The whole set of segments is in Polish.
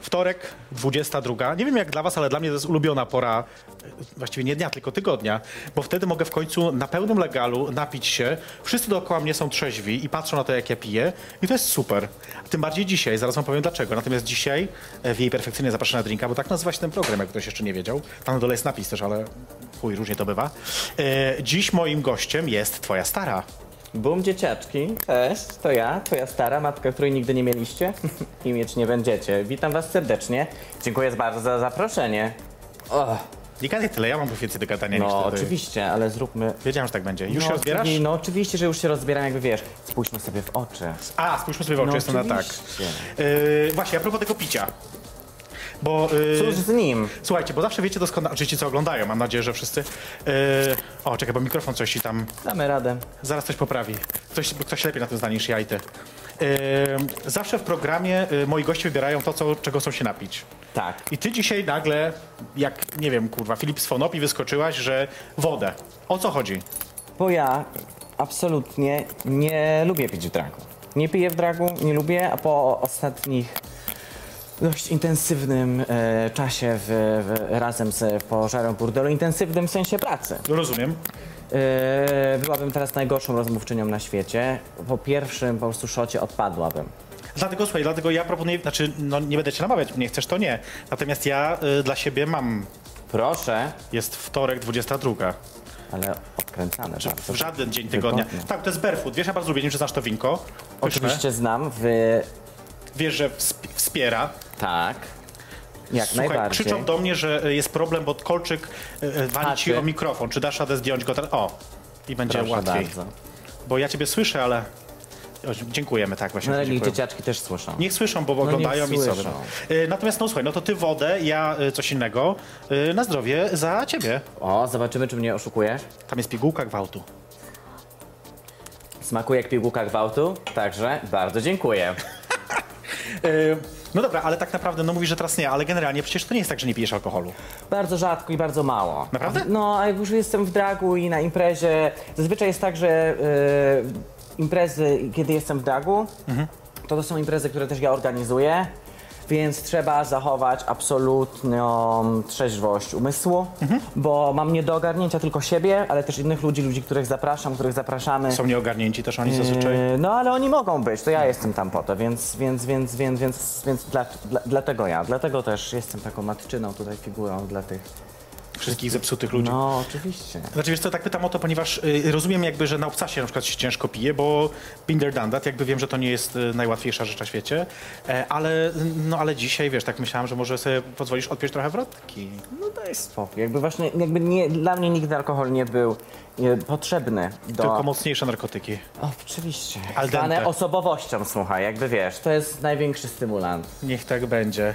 Wtorek, 22. Nie wiem jak dla was, ale dla mnie to jest ulubiona pora, e, właściwie nie dnia, tylko tygodnia, bo wtedy mogę w końcu na pełnym legalu napić się. Wszyscy dookoła mnie są trzeźwi i patrzą na to, jak ja piję i to jest super. Tym bardziej dzisiaj, zaraz wam powiem dlaczego. Natomiast dzisiaj e, w jej perfekcyjnie zapraszam na drinka, bo tak nazywa się ten program, jak ktoś jeszcze nie wiedział. Tam na dole jest napis też, ale chuj, różnie to bywa. E, Dziś moim gościem jest twoja stara. Bum dzieciaczki, cześć, to ja, twoja stara matka, której nigdy nie mieliście i mieć nie będziecie. Witam was serdecznie, dziękuję bardzo za zaproszenie. O, Nie gadaj tyle, ja mam więcej do gadania niż no ty. oczywiście, ale zróbmy... Wiedziałem, że tak będzie. Już no, się rozbierasz? No oczywiście, że już się rozbieram, jakby wiesz, spójrzmy sobie w oczy. A, spójrzmy sobie w oczy, No jestem na tak. oczywiście. Yy, właśnie, a propos tego picia. Bo, yy, Cóż z nim? słuchajcie, bo zawsze wiecie doskonale, oczywiście co oglądają, mam nadzieję, że wszyscy. Yy, o, czekaj, bo mikrofon coś ci tam, Damy radę. zaraz coś poprawi. Ktoś, ktoś lepiej na tym zna niż ja i ty. Yy, zawsze w programie yy, moi goście wybierają to, co, czego chcą się napić. Tak. I ty dzisiaj nagle, jak, nie wiem, kurwa, Filip z Fonopi wyskoczyłaś, że wodę. O co chodzi? Bo ja absolutnie nie lubię pić w dragu. Nie piję w dragu, nie lubię, a po ostatnich dość intensywnym e, czasie w, w, razem z pożarem burdelu, intensywnym w sensie pracy. No Rozumiem. E, byłabym teraz najgorszą rozmówczynią na świecie. Po pierwszym po prostu szocie odpadłabym. Dlatego słuchaj, dlatego ja proponuję, znaczy no, nie będę cię namawiać, nie chcesz to nie. Natomiast ja y, dla siebie mam, Proszę, jest wtorek 22. ale odkręcane bardzo. W żaden dzień tygodnia. Wygodnie. Tak, to jest barefoot. Wiesz, ja bardzo lubię, nie wiem, czy znasz to winko. Pyszne. Oczywiście znam w... Wiesz, że wsp- wspiera. Tak. Jak Słuchaj, najbardziej. krzyczą do mnie, że y, jest problem, bo kolczyk y, y, wali ci Haczy. o mikrofon. Czy dasz radę zdjąć go? Teraz? O, i będzie Proszę łatwiej. bardzo. Bo ja ciebie słyszę, ale... O, dziękujemy, tak właśnie. No ale niech dziękuję. dzieciaczki też słyszą. Niech słyszą, bo No niech oglądają i słyszą. sobie. Y, Natomiast no słuchaj, no to ty wodę, ja y, coś innego. Y, Na zdrowie za ciebie. O, zobaczymy, czy mnie oszukujesz. Tam jest pigułka gwałtu. Smakuje jak pigułka gwałtu, także bardzo dziękuję. Y, No dobra, ale tak naprawdę, no mówisz, że teraz nie, ale generalnie przecież to nie jest tak, że nie pijesz alkoholu. Bardzo rzadko i bardzo mało. Naprawdę? No, a jak już jestem w dragu i na imprezie, zazwyczaj jest tak, że y, imprezy, kiedy jestem w dragu, Mhm. to to są imprezy, które też ja organizuję, więc trzeba zachować absolutną trzeźwość umysłu, Mhm. bo mam nie do ogarnięcia tylko siebie, ale też innych ludzi, ludzi, których zapraszam, których zapraszamy. Są nieogarnięci też oni zazwyczaj. Yy, No ale oni mogą być, to ja jestem tam po to, więc, więc, więc, więc, więc, więc dla, dla, dlatego ja, dlatego też jestem taką matczyną tutaj figurą dla tych. Wszystkich zepsutych ludzi. No oczywiście. Znaczy wiesz co, tak pytam o to, ponieważ y, rozumiem jakby, że na obcasie na przykład się ciężko pije, bo Binder Dandat, jakby wiem, że to nie jest y, najłatwiejsza rzecz na świecie, e, ale, no, ale dzisiaj, wiesz, tak myślałem, że może sobie pozwolisz odpiąć trochę wrotki. No to jest spokój. Jakby właśnie, jakby nie, dla mnie nigdy alkohol nie był nie, potrzebny do... Tylko mocniejsze narkotyki. Oczywiście. Al dente. Zwane osobowością, słuchaj, jakby wiesz, to jest największy stymulant. Niech tak będzie.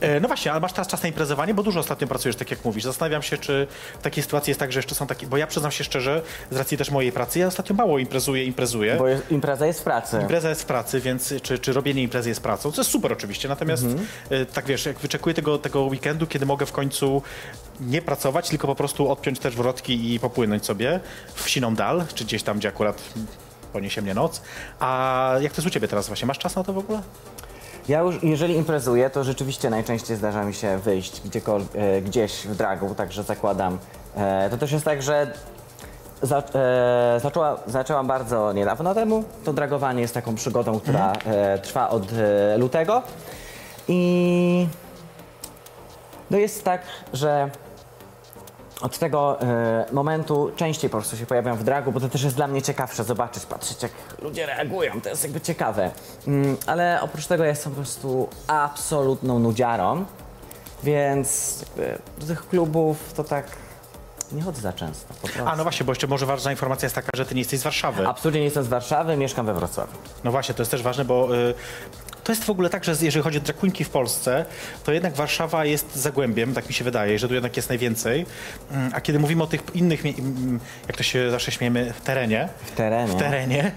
E, No właśnie, ale masz teraz czas na imprezowanie, bo dużo ostatnio pracujesz, tak jak mówisz. Zastanawiam się, czy w takiej sytuacji jest tak, że jeszcze są takie, bo ja przyznam się szczerze, z racji też mojej pracy, ja ostatnio mało imprezuję, imprezuję. Bo jest, impreza jest w pracy. Impreza jest w pracy, więc czy, czy robienie imprezy jest pracą, co jest super oczywiście, natomiast e, tak wiesz, jak wyczekuję tego, tego weekendu, kiedy mogę w końcu nie pracować, tylko po prostu odpiąć też wrotki i popłynąć sobie w siną dal, czy gdzieś tam, gdzie akurat poniesie mnie noc. A jak to jest u ciebie teraz właśnie? Masz czas na to w ogóle? Ja już, jeżeli imprezuję, to rzeczywiście najczęściej zdarza mi się wyjść gdziekol- e, gdzieś w dragu, także zakładam. E, to też jest tak, że za, e, zaczęła, zaczęłam bardzo niedawno temu. To dragowanie jest taką przygodą, która e, trwa od e, lutego. I no jest tak, że od tego e, momentu częściej po prostu się pojawiam w dragu, bo to też jest dla mnie ciekawsze zobaczyć, patrzeć jak ludzie reagują, to jest jakby ciekawe. Mm, ale oprócz tego ja jestem po prostu absolutną nudziarą, więc jakby do tych klubów to tak nie chodzę za często. Po prostu. A no właśnie, bo jeszcze może ważna informacja jest taka, że ty nie jesteś z Warszawy. Absolutnie nie jestem z Warszawy, mieszkam we Wrocławiu. No właśnie, to jest też ważne, bo y, To jest w ogóle tak, że jeżeli chodzi o drag queenki w Polsce, to jednak Warszawa jest zagłębiem, tak mi się wydaje, że tu jednak jest najwięcej. Mm, A kiedy mówimy o tych innych, mie- mm, jak to się zawsze śmiejemy, w terenie, W terenie. w terenie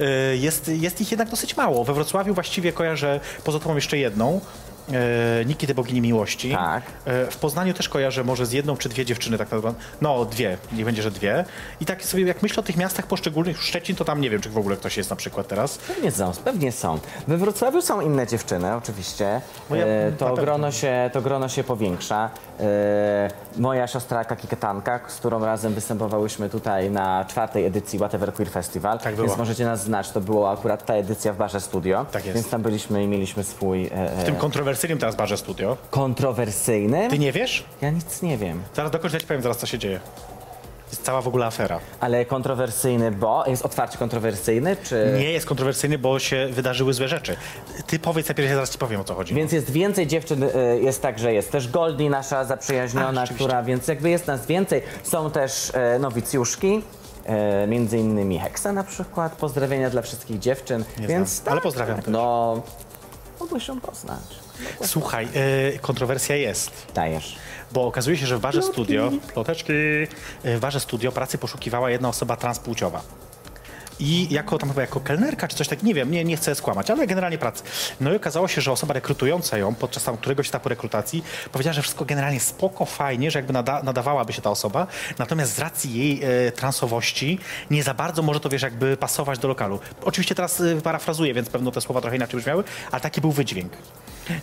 y, jest, jest ich jednak dosyć mało. We Wrocławiu właściwie kojarzę, poza tą jeszcze jedną, y, Nikitę Bogini Miłości. Tak. Y, W Poznaniu też kojarzę może z jedną czy dwie dziewczyny, tak naprawdę. No, dwie, nie będzie, że dwie. I tak sobie, jak myślę o tych miastach poszczególnych, Szczecin, to tam nie wiem, czy w ogóle ktoś jest na przykład teraz. Pewnie są, pewnie są. We Wrocławiu są inne dziewczyny, oczywiście. No ja- E, na to, pewno. grono się, to grono się powiększa. E, moja siostra Kakitanka, z którą razem występowałyśmy tutaj na czwartej edycji Whatever Queer Festival, Tak było. więc możecie nas znać. To była akurat ta edycja w Barze Studio, Tak jest. więc tam byliśmy i mieliśmy swój e, W e, tym kontrowersyjnym teraz barze studio. kontrowersyjny. Ty nie wiesz? Ja nic nie wiem. Zaraz do końca ci powiem zaraz, co się dzieje. Jest cała w ogóle afera. Ale kontrowersyjny, bo jest otwarcie kontrowersyjny, czy... Nie jest kontrowersyjny, bo się wydarzyły złe rzeczy. Ty powiedz najpierw, ja zaraz ci powiem, o co chodzi. Więc jest więcej dziewczyn, y, jest tak, że jest też Goldie, nasza A, zaprzyjaźniona, rzeczywiście. która, więc jakby jest nas więcej. Są też e, nowicjuszki, e, między innymi Hexa na przykład. Pozdrowienia dla wszystkich dziewczyn. Nie więc tak, znam, ale pozdrawiam też. No, mogłeś ją poznać. Słuchaj, y, kontrowersja jest. Dajesz. Bo okazuje się, że w Barze Studio, ploteczki, y, w Barze Studio pracy poszukiwała jedna osoba transpłciowa. I jako tam chyba jako kelnerka czy coś tak, nie wiem, nie, nie chcę skłamać, ale generalnie pracy. No i okazało się, że osoba rekrutująca ją podczas tam któregoś etapu rekrutacji powiedziała, że wszystko generalnie spoko, fajnie, że jakby nada, nadawałaby się ta osoba, natomiast z racji jej e, transowości nie za bardzo może to, wiesz, jakby pasować do lokalu. Oczywiście teraz e, parafrazuję, więc pewno te słowa trochę inaczej brzmiały, ale taki był wydźwięk.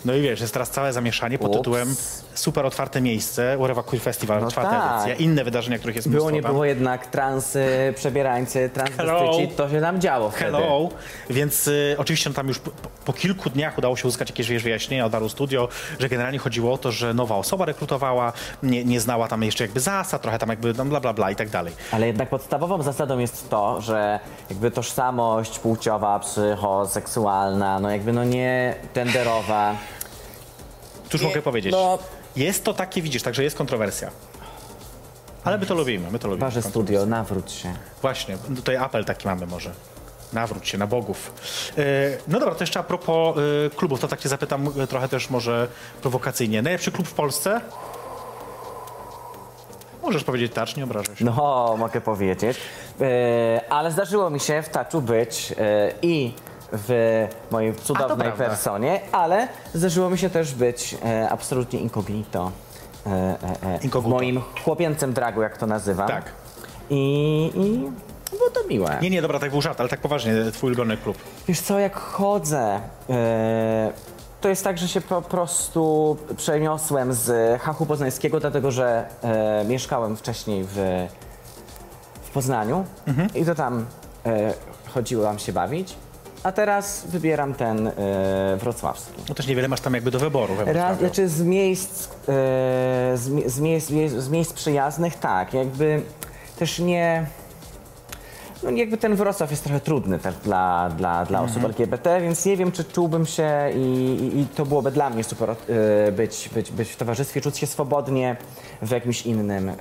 No i wiesz, jest teraz całe zamieszanie pod Ups. tytułem super otwarte miejsce, Urewa Queer Festival, No czwarta tak. edycja, inne wydarzenia, których jest Było, mnóstwo nie tam. było jednak transy, przebierańcy, transwestyci, Hello. to się nam działo wtedy. Hello, więc y, oczywiście no, tam już po, po kilku dniach udało się uzyskać jakieś wiesz, wyjaśnienia od Daru Studio, że generalnie chodziło o to, że nowa osoba rekrutowała, nie, nie znała tam jeszcze jakby zasad, trochę tam jakby tam bla bla bla i tak dalej. Ale jednak podstawową zasadą jest to, że jakby tożsamość płciowa, psychoseksualna, no jakby no nie tenderowa. Cóż Nie, mogę powiedzieć? no- Jest to takie, widzisz, także jest kontrowersja. Ale my to lubimy, my to lubimy. Parze studio, nawróć się. Właśnie, no tutaj apel taki mamy może. Nawróć się na bogów. E, No dobra, to jeszcze a propos e, klubów, to tak cię zapytam e, trochę też może prowokacyjnie. Najlepszy klub w Polsce? Możesz powiedzieć tacz, nie obrażę się. No, mogę powiedzieć. E, ale zdarzyło mi się w taczu być e, i w mojej cudownej prawda. personie, ale zdarzyło mi się też być e, absolutnie incognito. E, e, e, w Incognito. moim chłopięcym dragu, jak to nazywam. Tak. I, i było to miłe. Nie, nie, dobra, tak był żart, ale tak poważnie, twój ulubiony klub. Wiesz co, jak chodzę, e, to jest tak, że się po prostu przeniosłem z hachu poznańskiego, dlatego że e, mieszkałem wcześniej w, w Poznaniu i to tam e, chodziłam się bawić, a teraz wybieram ten e, wrocławski. No też niewiele masz tam jakby do wyboru. we Raz, Wrocławiu. znaczy z miejsc, e, z, mi- z, miejsc, z miejsc przyjaznych, tak, jakby też nie... No jakby ten Wrocław jest trochę trudny też dla, dla, dla osób LGBT, więc nie wiem, czy czułbym się i, i, i to byłoby dla mnie super e, być, być, być w towarzystwie, czuć się swobodnie w jakimś innym, e,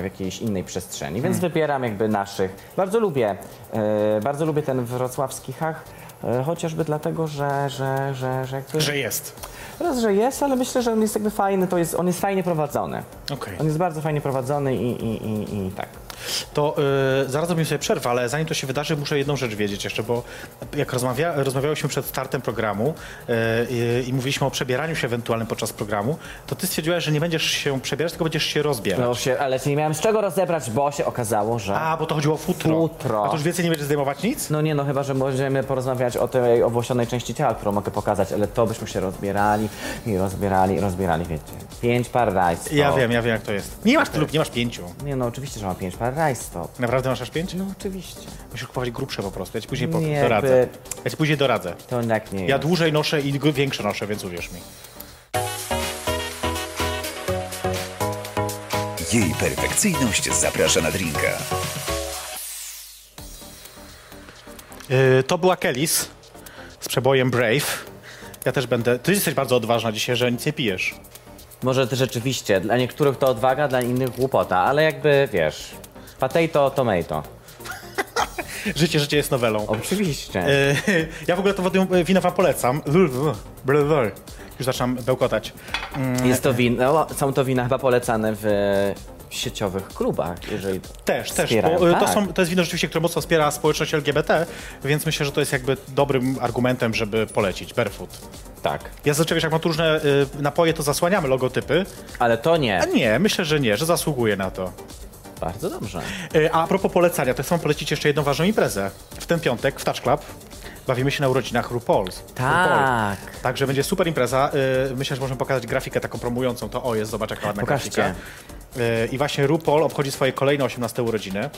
w jakiejś innej przestrzeni, więc wybieram jakby naszych. Bardzo lubię, e, bardzo lubię ten wrocławski hach, e, chociażby dlatego, że, że, że, że jakby... Że jest. Raz, że jest, ale myślę, że on jest jakby fajny, to jest, on jest fajnie prowadzony. Okej. On jest bardzo fajnie prowadzony i, i, i, i tak. To y, zaraz robimy sobie przerwę, ale zanim to się wydarzy, muszę jedną rzecz wiedzieć jeszcze, bo jak rozmawia, rozmawiałyśmy przed startem programu y, y, i mówiliśmy o przebieraniu się ewentualnym podczas programu, to ty stwierdziłaś, że nie będziesz się przebierać, tylko będziesz się rozbierać. No się, ale się nie miałem z czego rozebrać, bo się okazało, że... A, bo to chodziło o futro. Futro. A to już więcej nie będziesz zdejmować nic? No nie, no chyba, że możemy porozmawiać o tej owłosionej części ciała, którą mogę pokazać, ale to byśmy się rozbierali i rozbierali i rozbierali, wiecie. Pięć par rajstop. Ja wiem, ja wiem jak to jest. Nie Tak. masz tylu lub nie masz pięciu. Nie no, oczywiście, że mam pięć par rajstop. Naprawdę masz aż pięć? No oczywiście. Musisz kupować grubsze po prostu, ja ci później Nie, powiem, jakby- doradzę. Ja ci później doradzę. To jednak nie Ja jest. dłużej noszę i gru- większe noszę, więc uwierz mi. Jej perfekcyjność zaprasza na drinka. Y, To była Kelis z przebojem Brave. Ja też będę. Ty jesteś bardzo odważna dzisiaj, że nic nie pijesz. Może ty rzeczywiście, dla niektórych to odwaga, dla innych głupota, ale jakby, wiesz, potato, tomato. Życie, życie jest nowelą. Oczywiście. E, Ja w ogóle to wody- wino wam polecam. Brr, brr, brr, brr. Już zaczynam bełkotać. Jest to wino, są to wina chyba polecane w e, sieciowych klubach, jeżeli... Też, też. Wspierają, Bo e, to, tak. są, to jest wino rzeczywiście, które mocno wspiera społeczność LGBT, więc myślę, że to jest jakby dobrym argumentem, żeby polecić Barefoot. Tak. Ja zazwyczaj, wiesz, jak mam tu różne y, napoje, to zasłaniamy logotypy. Ale to nie. A nie, myślę, że nie, że zasługuje na to. Bardzo dobrze. Y, a propos polecania, to chcę wam polecić jeszcze jedną ważną imprezę. W ten piątek w Touch Club bawimy się na urodzinach RuPaul's. Tak. RuPaul. Także będzie super impreza. Y, myślę, że możemy pokazać grafikę taką promującą. To o jest, zobacz jaka ładna Pokażcie. grafika. Y, I właśnie RuPaul obchodzi swoje kolejne 18 urodziny.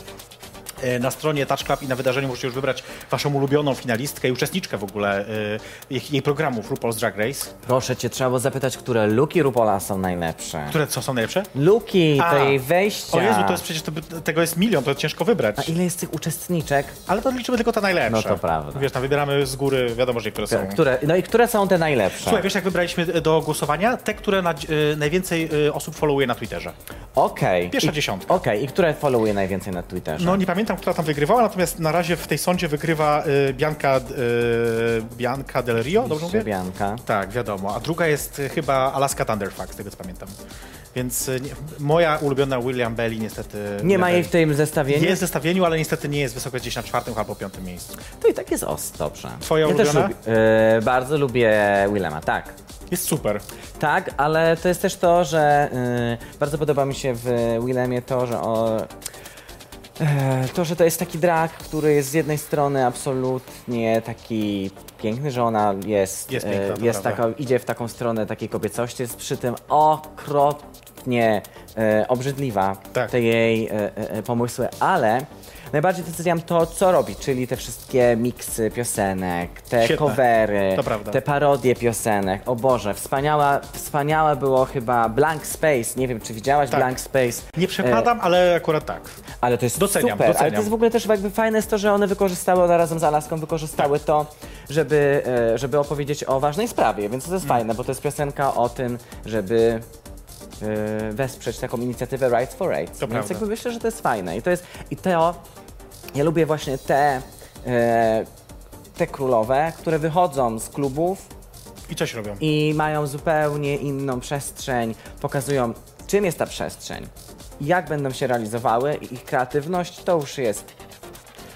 Y, Na stronie Touch Club i na wydarzeniu możecie już wybrać waszą ulubioną finalistkę i uczestniczkę w ogóle y, jej- jej programów RuPaul's Drag Race. Proszę cię, trzeba było zapytać, które luki Rupola są najlepsze. Które co są najlepsze? Luki A. tej wejścia. O Jezu, to jest przecież, to, by- tego jest milion, to ciężko wybrać. A ile jest tych uczestniczek? Ale to liczymy tylko te najlepsze. No to prawda. Wiesz, tam wybieramy z góry, wiadomo, że które są. Które, no i które są te najlepsze? Słuchaj, wiesz jak wybraliśmy e, do głosowania? Te, które na, e, najwięcej e, osób followuje na Twitterze. Tak. Okej. Pierwsza I- dziesiątka. Okej, i które followuje najwięcej na Twitterze? No nie pamiętam, która tam wygrywała, natomiast na razie w tej sądzie wygrywa e, Bianka, e, Bianca Del Rio, dobrze mówię? Bianka. Tak, wiadomo. A druga jest e, chyba Alaska Thunderfuck, z tego co pamiętam. Więc e, nie, moja ulubiona William Belli niestety... Nie William ma jej w Belli. tym zestawieniu? Jest w zestawieniu, ale niestety nie jest wysoko gdzieś na czwartym albo piątym miejscu. To i tak jest os, dobrze. Twoja ja też ulubiona? lubię, y, Bardzo lubię Willema, tak. Jest super. Tak, ale to jest też to, że y, bardzo podoba mi się w Willemie to, że o, e, to, że to jest taki drag, który jest z jednej strony absolutnie taki piękny, że ona jest, e, Jest piękna, to jest prawda. taka, idzie w taką stronę takiej kobiecości, jest przy tym okropnie e, obrzydliwa Tak. te jej e, e, e, pomysły, ale najbardziej doceniam to, co robi, czyli te wszystkie miksy piosenek, te Świetne. covery, To prawda. te parodie piosenek. O Boże, wspaniała, wspaniałe było chyba Blank Space. Nie wiem, czy widziałaś Tak. Blank Space. Nie przepadam, ale akurat tak. Ale to jest Doceniam, super. Ale doceniam. to jest w ogóle też jakby fajne jest to, że one wykorzystały, one razem z Alaską wykorzystały Tak. to, żeby, e, żeby opowiedzieć o ważnej sprawie, więc to jest Mm. fajne, bo to jest piosenka o tym, żeby e, wesprzeć taką inicjatywę Rights for Rights. To więc prawda. jakby myślę, że to jest fajne i to jest, i to, ja lubię właśnie te, e, te królowe, które wychodzą z klubów I coś robią. i mają zupełnie inną przestrzeń, pokazują czym jest ta przestrzeń, jak będą się realizowały i ich kreatywność, to już jest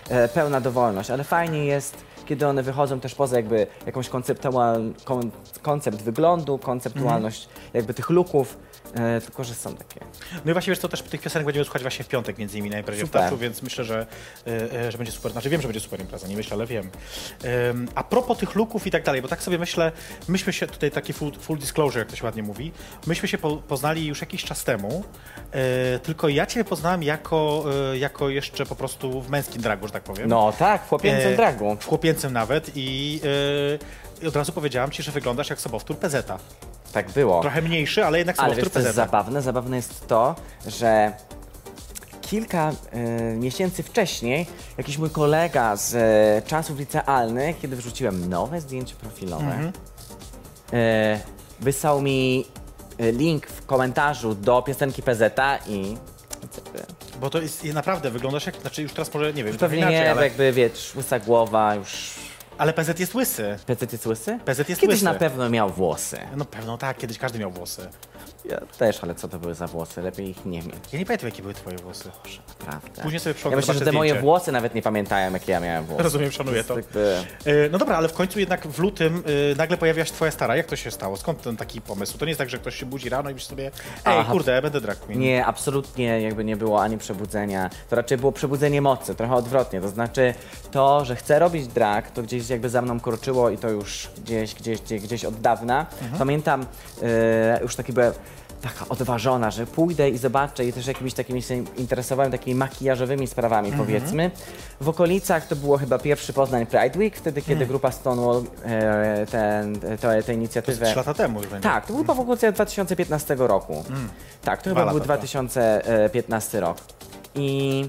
e, pełna dowolność, ale fajnie jest, kiedy one wychodzą też poza jakby jakąś konceptual, kon, koncept wyglądu, konceptualność jakby tych looków, e, tylko że są takie. No i właśnie wiesz, to też tych piosenek będziemy słuchać właśnie w piątek między innymi na imprezie Super. w Taszu, więc myślę, że, e, e, że będzie super. Znaczy wiem, że będzie super impreza, nie myślę, ale wiem. Ym, A propos tych looków i tak dalej, bo tak sobie myślę, myśmy się tutaj taki full, full disclosure, jak to się ładnie mówi, myśmy się po, poznali już jakiś czas temu, e, tylko ja cię poznałem jako, e, jako jeszcze po prostu w męskim dragu, że tak powiem. No tak, E, chłopięcym dragu. W chłopięcym nawet i e, i od razu powiedziałam ci, że wyglądasz jak sobowtór PZ. Tak było. Trochę mniejszy, ale jednak Ale sobowtór wiesz, co jest PZ. zabawne? Zabawne jest to, że kilka e, miesięcy wcześniej jakiś mój kolega z e, czasów licealnych, kiedy wrzuciłem nowe zdjęcie profilowe, Mhm. e, wysłał mi e, link w komentarzu do piosenki PZ i Bo to jest i naprawdę wyglądasz jak, znaczy już teraz może nie wiem, pewnie inaczej, nie, ale, jakby wiesz, łysa głowa, już ale PZ jest łysy. PZ jest łysy? PZ jest Kiedyś łysy. na pewno miał włosy. No pewno tak, kiedyś każdy miał włosy. Ja też, ale co to były za włosy? Lepiej ich nie mieć. Ja nie pamiętam jakie były twoje włosy. Prawda. Później sobie przy ja okazji myślę, że zobaczę te moje zdjęcie. włosy nawet nie pamiętają, jakie ja miałem włosy. Rozumiem, szanuję to. Jakby- E, No dobra, ale w końcu jednak w lutym e, nagle pojawia się twoja stara. Jak to się stało? Skąd ten taki pomysł? To nie jest tak, że ktoś się budzi rano i myśli sobie, ej Aha. kurde, ja będę drag queen. Nie, absolutnie jakby nie było ani przebudzenia. To raczej było przebudzenie mocy, trochę odwrotnie. To znaczy to, że chcę robić drag, to gdzieś jakby za mną kroczyło i to już gdzieś, gdzieś, gdzieś, gdzieś od dawna. Pamiętam e, już taki byłem taka odważona, że pójdę i zobaczę i też jakimiś takimi się interesowałem takimi makijażowymi sprawami powiedzmy. W okolicach to było chyba pierwszy Poznań Pride Week, wtedy kiedy grupa Stonewall e, ten, te, tę inicjatywę... Trzy lata temu już będzie. Tak, to był chyba w okolicy 2015 Mm. roku. Tak, to chyba lata był to. 2015 rok. I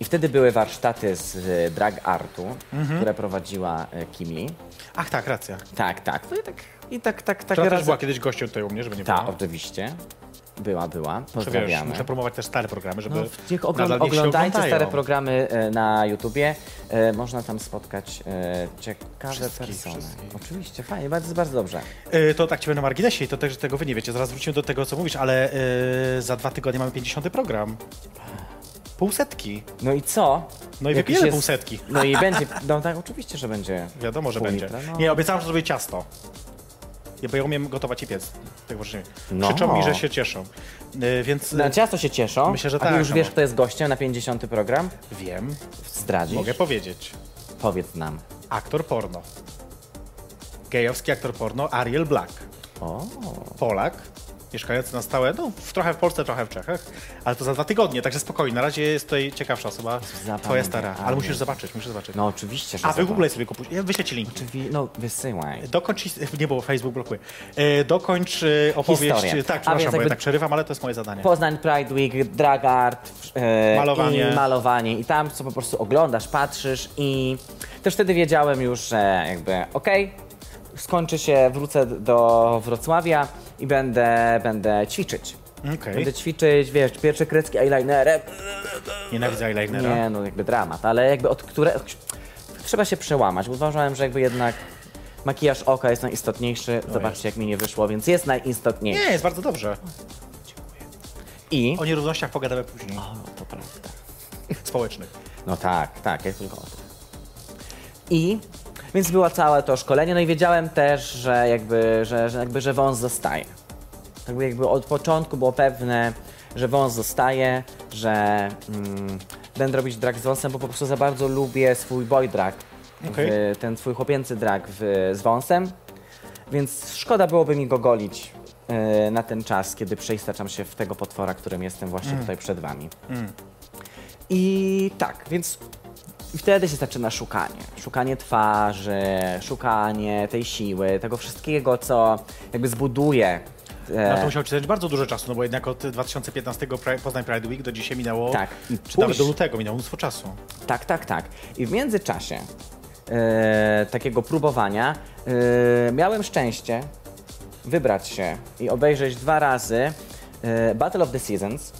I wtedy były warsztaty z y, drag artu, Mhm. które prowadziła y, Kimli. Ach tak, racja. Tak, tak. No i tak, i tak, tak, tak. Która też była kiedyś gościem tutaj u mnie, żeby nie Ta, było. oczywiście. Była, była. Że Wiesz, Tak, Pozdrawiamy. muszę promować też stare programy, żeby No, w- niech ogl- nadal niech się oglądajcie stare oglądają. programy e, na YouTubie. E, Można tam spotkać e, ciekawe Wszystkich, persony. wszystkich. Oczywiście, fajnie, bardzo, bardzo dobrze. Y, To tak ciebie na marginesie i to też tego wy nie wiecie. Zaraz wrócimy do tego, co mówisz, ale y, za dwa tygodnie mamy 50 program. Półsetki. No i co? No i Jakiś wypijemy półsetki. No i będzie, no tak, oczywiście, że będzie. Wiadomo, że pół będzie. litra, no. Nie, obiecałam, że zrobię ciasto. Ja, bo ja umiem gotować i piec. Tak właśnie. No. Krzyczą mi, że się cieszą. Y, Więc y, Na ciasto się cieszą, Myślę, że a ty tak, już no wiesz, bo- kto jest gościem na 50 program? wiem, Zdradzisz? mogę powiedzieć. Powiedz nam. Aktor porno. Gejowski aktor porno Ariel Black. O, Polak, mieszkający na stałe, no w- trochę w Polsce, trochę w Czechach, ale to za dwa tygodnie, także spokojnie. Na razie jest tutaj ciekawsza osoba, Zapamiętam. twoja stara, ale Ale- musisz zobaczyć, musisz zobaczyć. no oczywiście, że A, zapam- wygooglaj sobie, kupuj, ja wyślę ci linki. Oczywi- No, wysyłaj. Dokończ, his- nie, bo Facebook blokuje. E, dokończ e, opowieść, Historię. tak, A przepraszam, więc bo ja jakby- tak przerywam, ale to jest moje zadanie. Poznań Pride Week, drag art, e, Malowanie. I malowanie. I tam co po prostu oglądasz, patrzysz i też wtedy wiedziałem już, że jakby okej, skończy się, wrócę do Wrocławia i będę, będę ćwiczyć. Okej, Będę ćwiczyć, wiesz, pierwsze kreski eyelinerem. nienawidzę eyelinera. Nie, no jakby dramat, ale jakby od które... Trzeba się przełamać, bo uważałem, że jakby jednak makijaż oka jest najistotniejszy. Zobaczcie, jak mi nie wyszło, więc jest najistotniejszy. nie, jest bardzo dobrze. I... O nierównościach pogadamy później, O, to prawda. społecznych. No tak, tak, jak tylko o tym. I więc było całe to szkolenie, no i wiedziałem też, że jakby, że, że jakby, że wąs zostaje. Jakby, jakby od początku było pewne, że wąs zostaje, że mm, będę robić drag z wąsem, bo po prostu za bardzo lubię swój boy drag, Okej. w, ten swój chłopięcy drag w, z wąsem, więc szkoda byłoby mi go golić e, na ten czas, kiedy przeistaczam się w tego potwora, którym jestem właśnie tutaj przed wami. I tak, więc wtedy się zaczyna szukanie. Szukanie twarzy, szukanie tej siły, tego wszystkiego, co jakby zbuduje. e, Na to musiał ci zająć bardzo dużo czasu, no bo jednak od 2015 Pri- Poznań Pride Week do dzisiaj minęło, Tak. I czy nawet do później- lutego, minęło mnóstwo czasu. Tak, tak, tak. I w międzyczasie e, takiego próbowania e, miałem szczęście wybrać się i obejrzeć dwa razy e, Battle of the Seasons,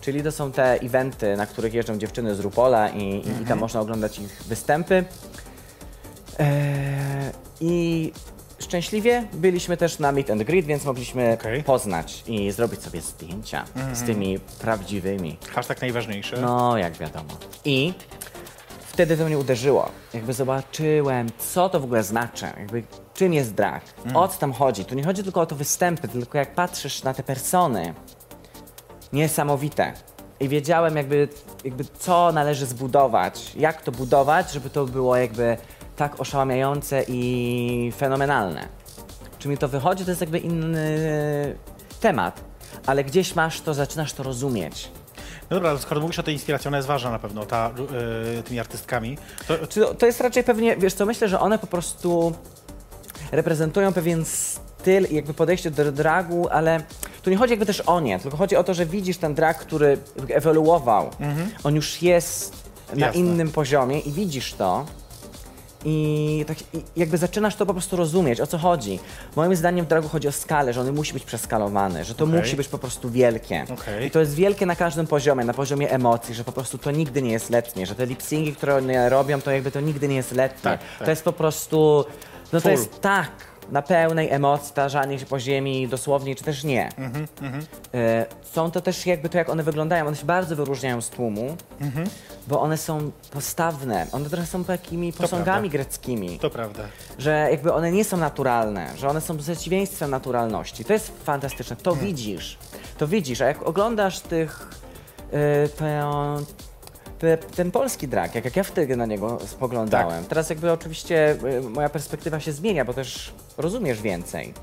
czyli to są te eventy, na których jeżdżą dziewczyny z Rupola i, i, i tam można oglądać ich występy. E, I szczęśliwie byliśmy też na Meet and Greet, więc mogliśmy Okej. poznać i zrobić sobie zdjęcia z tymi prawdziwymi. Hashtag najważniejszy. No, jak wiadomo. I wtedy to mnie uderzyło. Jakby zobaczyłem, co to w ogóle znaczy, jakby czym jest drag, o co tam chodzi. Tu nie chodzi tylko o to występy, tylko jak patrzysz na te persony. Niesamowite. I wiedziałem jakby, jakby co należy zbudować, jak to budować, żeby to było jakby tak oszałamiające i fenomenalne. Czy mi to wychodzi, to jest jakby inny temat. Ale gdzieś masz to, zaczynasz to rozumieć. No dobra, ale skoro mówisz o tej inspiracji, ona jest ważna na pewno, ta, y, tymi artystkami. To, Czy to, to jest raczej pewnie, wiesz co, myślę, że one po prostu reprezentują pewien styl i jakby podejście do dragu, ale tu nie chodzi jakby też o nie, tylko chodzi o to, że widzisz ten drag, który ewoluował. On już jest na Mhm. Jasne. innym poziomie i widzisz to. I, tak, I jakby zaczynasz to po prostu rozumieć, o co chodzi. Moim zdaniem w dragu chodzi o skalę, że on musi być przeskalowany, że to Okej. musi być po prostu wielkie. Okej. I to jest wielkie na każdym poziomie, na poziomie emocji, że po prostu to nigdy nie jest letnie, że te lipsingi, które one robią, to jakby to nigdy nie jest letnie. Tak, tak. To jest po prostu, no Full. to jest tak, na pełnej emocji, tarzanie się po ziemi dosłownie, czy też nie. Mhm, E, Są to też jakby to, jak one wyglądają, one się bardzo wyróżniają z tłumu, Mhm. bo one są postawne, one trochę są takimi posągami greckimi to prawda. że jakby one nie są naturalne, że one są przeciwieństwem naturalności. To jest fantastyczne, to widzisz, to widzisz, a jak oglądasz tych, y, te, te, ten polski drag, jak, jak ja wtedy na niego spoglądałem, teraz jakby oczywiście y, moja perspektywa się zmienia, bo też rozumiesz więcej.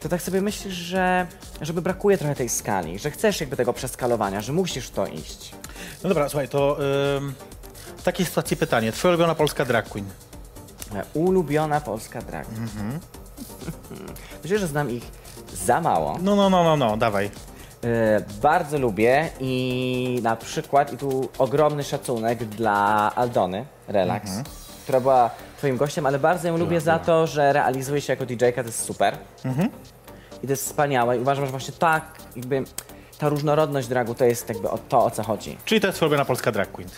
To tak sobie myślisz, że żeby brakuje trochę tej skali, że chcesz jakby tego przeskalowania, że musisz w to iść. No dobra, słuchaj, to ym, w takiej sytuacji pytanie. Twoja ulubiona polska drag queen. Moja Ulubiona polska drag. Myślę, że znam ich za mało. No, no, no, no, no, dawaj. E, Bardzo lubię i na przykład, i tu ogromny szacunek dla Aldony Relax, Mhm. która była twoim gościem, ale bardzo ją lubię za to, że realizuje się jako DJ-ka, to jest super. Mhm. I to jest wspaniałe i uważam, że właśnie tak jakby ta różnorodność dragu to jest jakby o to, o co chodzi. Czyli to jest robiona polska drag queen.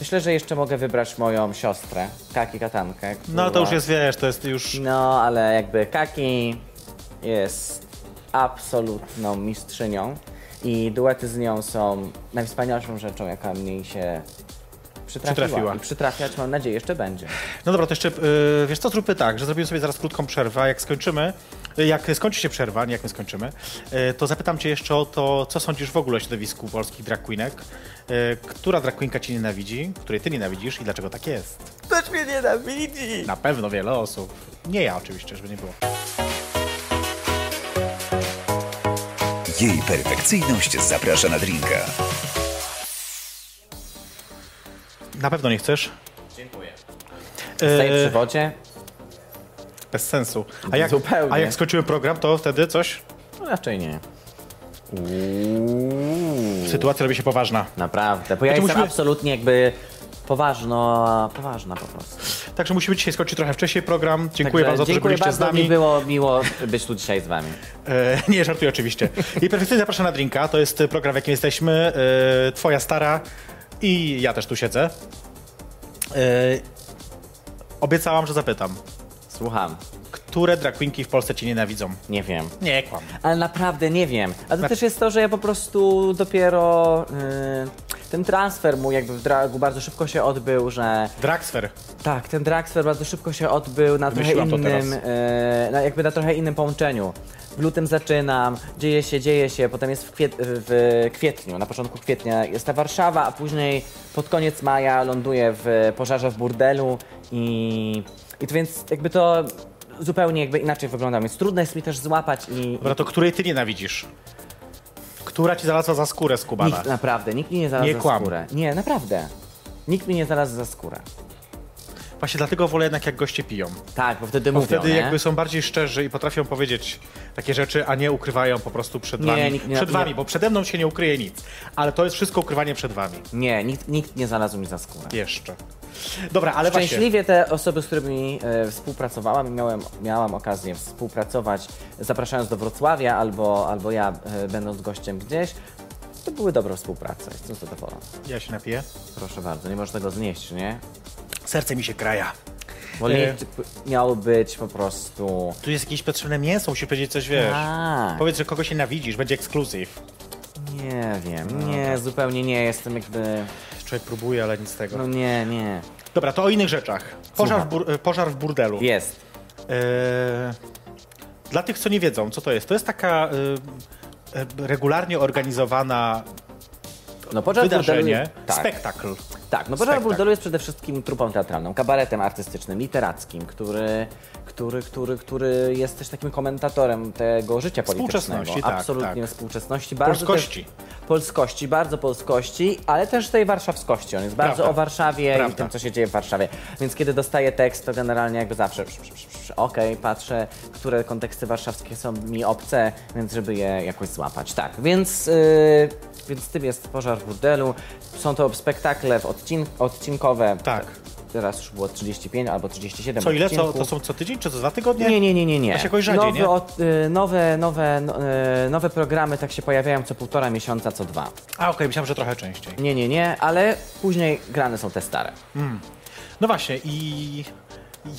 Myślę, że jeszcze mogę wybrać moją siostrę, Kaki Katankę. No ale to która- już jest, wiesz, to jest już... No, ale jakby Kaki jest absolutną mistrzynią i duety z nią są najwspanialszą rzeczą, jaka mi się przytrafiła. Przytrafiła. I przytrafiać, mam nadzieję, jeszcze będzie. No dobra, to jeszcze, y, wiesz co, zróbmy tak, że zrobimy sobie zaraz krótką przerwę, a jak skończymy, y, jak skończy się przerwa, nie jak my skończymy, y, to zapytam cię jeszcze o to, co sądzisz w ogóle o środowisku polskich drag queenek, y, która drag queenka cię nienawidzi, której ty nienawidzisz i dlaczego tak jest? Ktoś mnie nienawidzi! Na pewno wiele osób. Nie ja oczywiście, żeby nie było. Jej perfekcyjność zaprasza na drinka. Na pewno nie chcesz? E, Staję przy Dziękuję. wodzie. Bez sensu. A jak, Zupełnie. a jak skończyłem program, to wtedy coś? No, raczej nie. Sytuacja robi się poważna. Naprawdę, bo ja Znaczy, jestem musimy- absolutnie jakby poważno, poważna po prostu. Także musimy dzisiaj skończyć trochę wcześniej program. Dziękuję Wam Także za to, że dziękuję byliście bardzo, z nami. Mi było miło być tu dzisiaj z wami. E, nie, żartuję oczywiście. I perfekcyjnie zapraszam na drinka. To jest program, w jakim jesteśmy. E, twoja stara i ja też tu siedzę. E, obiecałam, że zapytam. Słucham, Które drag queenki w Polsce cię nienawidzą? nie wiem. Nie, kłam. Ale naprawdę nie wiem. A to też jest to, że ja po prostu dopiero y, ten transfer mój jakby w dragu bardzo szybko się odbył, że Dragsfer. tak, ten transfer bardzo szybko się odbył na trochę Wymyśliłam to innym, teraz. y, na, jakby na trochę innym połączeniu. W lutym zaczynam, dzieje się, dzieje się, potem jest w, kwiet, w kwietniu, na początku kwietnia jest ta Warszawa, a później pod koniec maja ląduję w pożarze w burdelu i, i to więc jakby to zupełnie jakby inaczej wygląda, więc trudno jest mi też złapać i, Dobra, to której ty nienawidzisz? Która ci znalazła za skórę z Kubana? Nikt, naprawdę, nikt mi nie znalazł Nie za kłam. skórę. Nie, naprawdę. Nikt mi nie znalazł za skórę. Właśnie dlatego wolę jednak, jak goście piją. Tak, bo wtedy Bo mówią, wtedy nie? jakby są bardziej szczerzy i potrafią powiedzieć takie rzeczy, a nie ukrywają po prostu przed Nie, wami. nikt nie- przed nie- wami, bo przede mną się nie ukryje nic. Ale to jest wszystko ukrywanie przed wami. Nie, nikt, nikt nie znalazł mi za skórę. Jeszcze. Dobra, ale właśnie. Szczęśliwie te osoby, z którymi e, współpracowałam i miałem, miałam okazję współpracować, zapraszając do Wrocławia albo, albo ja e, będąc gościem gdzieś, to były dobre współprace. Jestem zadowolona. Ja się napiję. Proszę bardzo, nie możesz tego znieść, nie? Serce mi się kraja. Bo E. nie miało być po prostu... Tu jest jakieś potrzebne mięso, musisz powiedzieć coś, wiesz. Tak. Powiedz, że kogoś nienawidzisz, będzie ekskluzyw. Nie No wiem, nie, tak. zupełnie nie jestem jakby... Człowiek próbuje, ale nic z tego. No nie, nie. Dobra, to o innych rzeczach. Pożar, w, Słucham. bur- e, pożar w burdelu. Jest. E, Dla tych, co nie wiedzą, co to jest, to jest taka e, e, regularnie organizowana No pożar burdelu wydarzenie, jest, tak, spektakl. tak, no pożar spektakl. burdelu jest przede wszystkim trupą teatralną, kabaretem artystycznym, literackim, który, który, który, który jest też takim komentatorem tego życia politycznego. Współczesności, tak, Absolutnie tak. współczesności. Bardzo Polskości. Też, polskości, bardzo polskości, ale też tej warszawskości. On jest bardzo Prawda. o Warszawie i Prawda. tym, co się dzieje w Warszawie. Więc kiedy dostaję tekst, to generalnie jakby zawsze psz, psz, psz, psz, okej, patrzę, które konteksty warszawskie są mi obce, więc żeby je jakoś złapać. Tak, więc, yy, więc tym jest Pożar w burdelu. Są to spektakle w odcin odcinkowe. Tak. Teraz już było 35 albo 37 Co ile? Co, odcinków. to są co tydzień, czy co dwa tygodnie? Nie, nie, nie, nie, nie. To się jakoś rzadziej, nowe, nie? od- y, nowe, nowe, no, y, nowe programy tak się pojawiają co półtora miesiąca, co dwa. A okej, myślałem, że trochę częściej. Nie, nie, nie, ale później grane są te stare. No właśnie i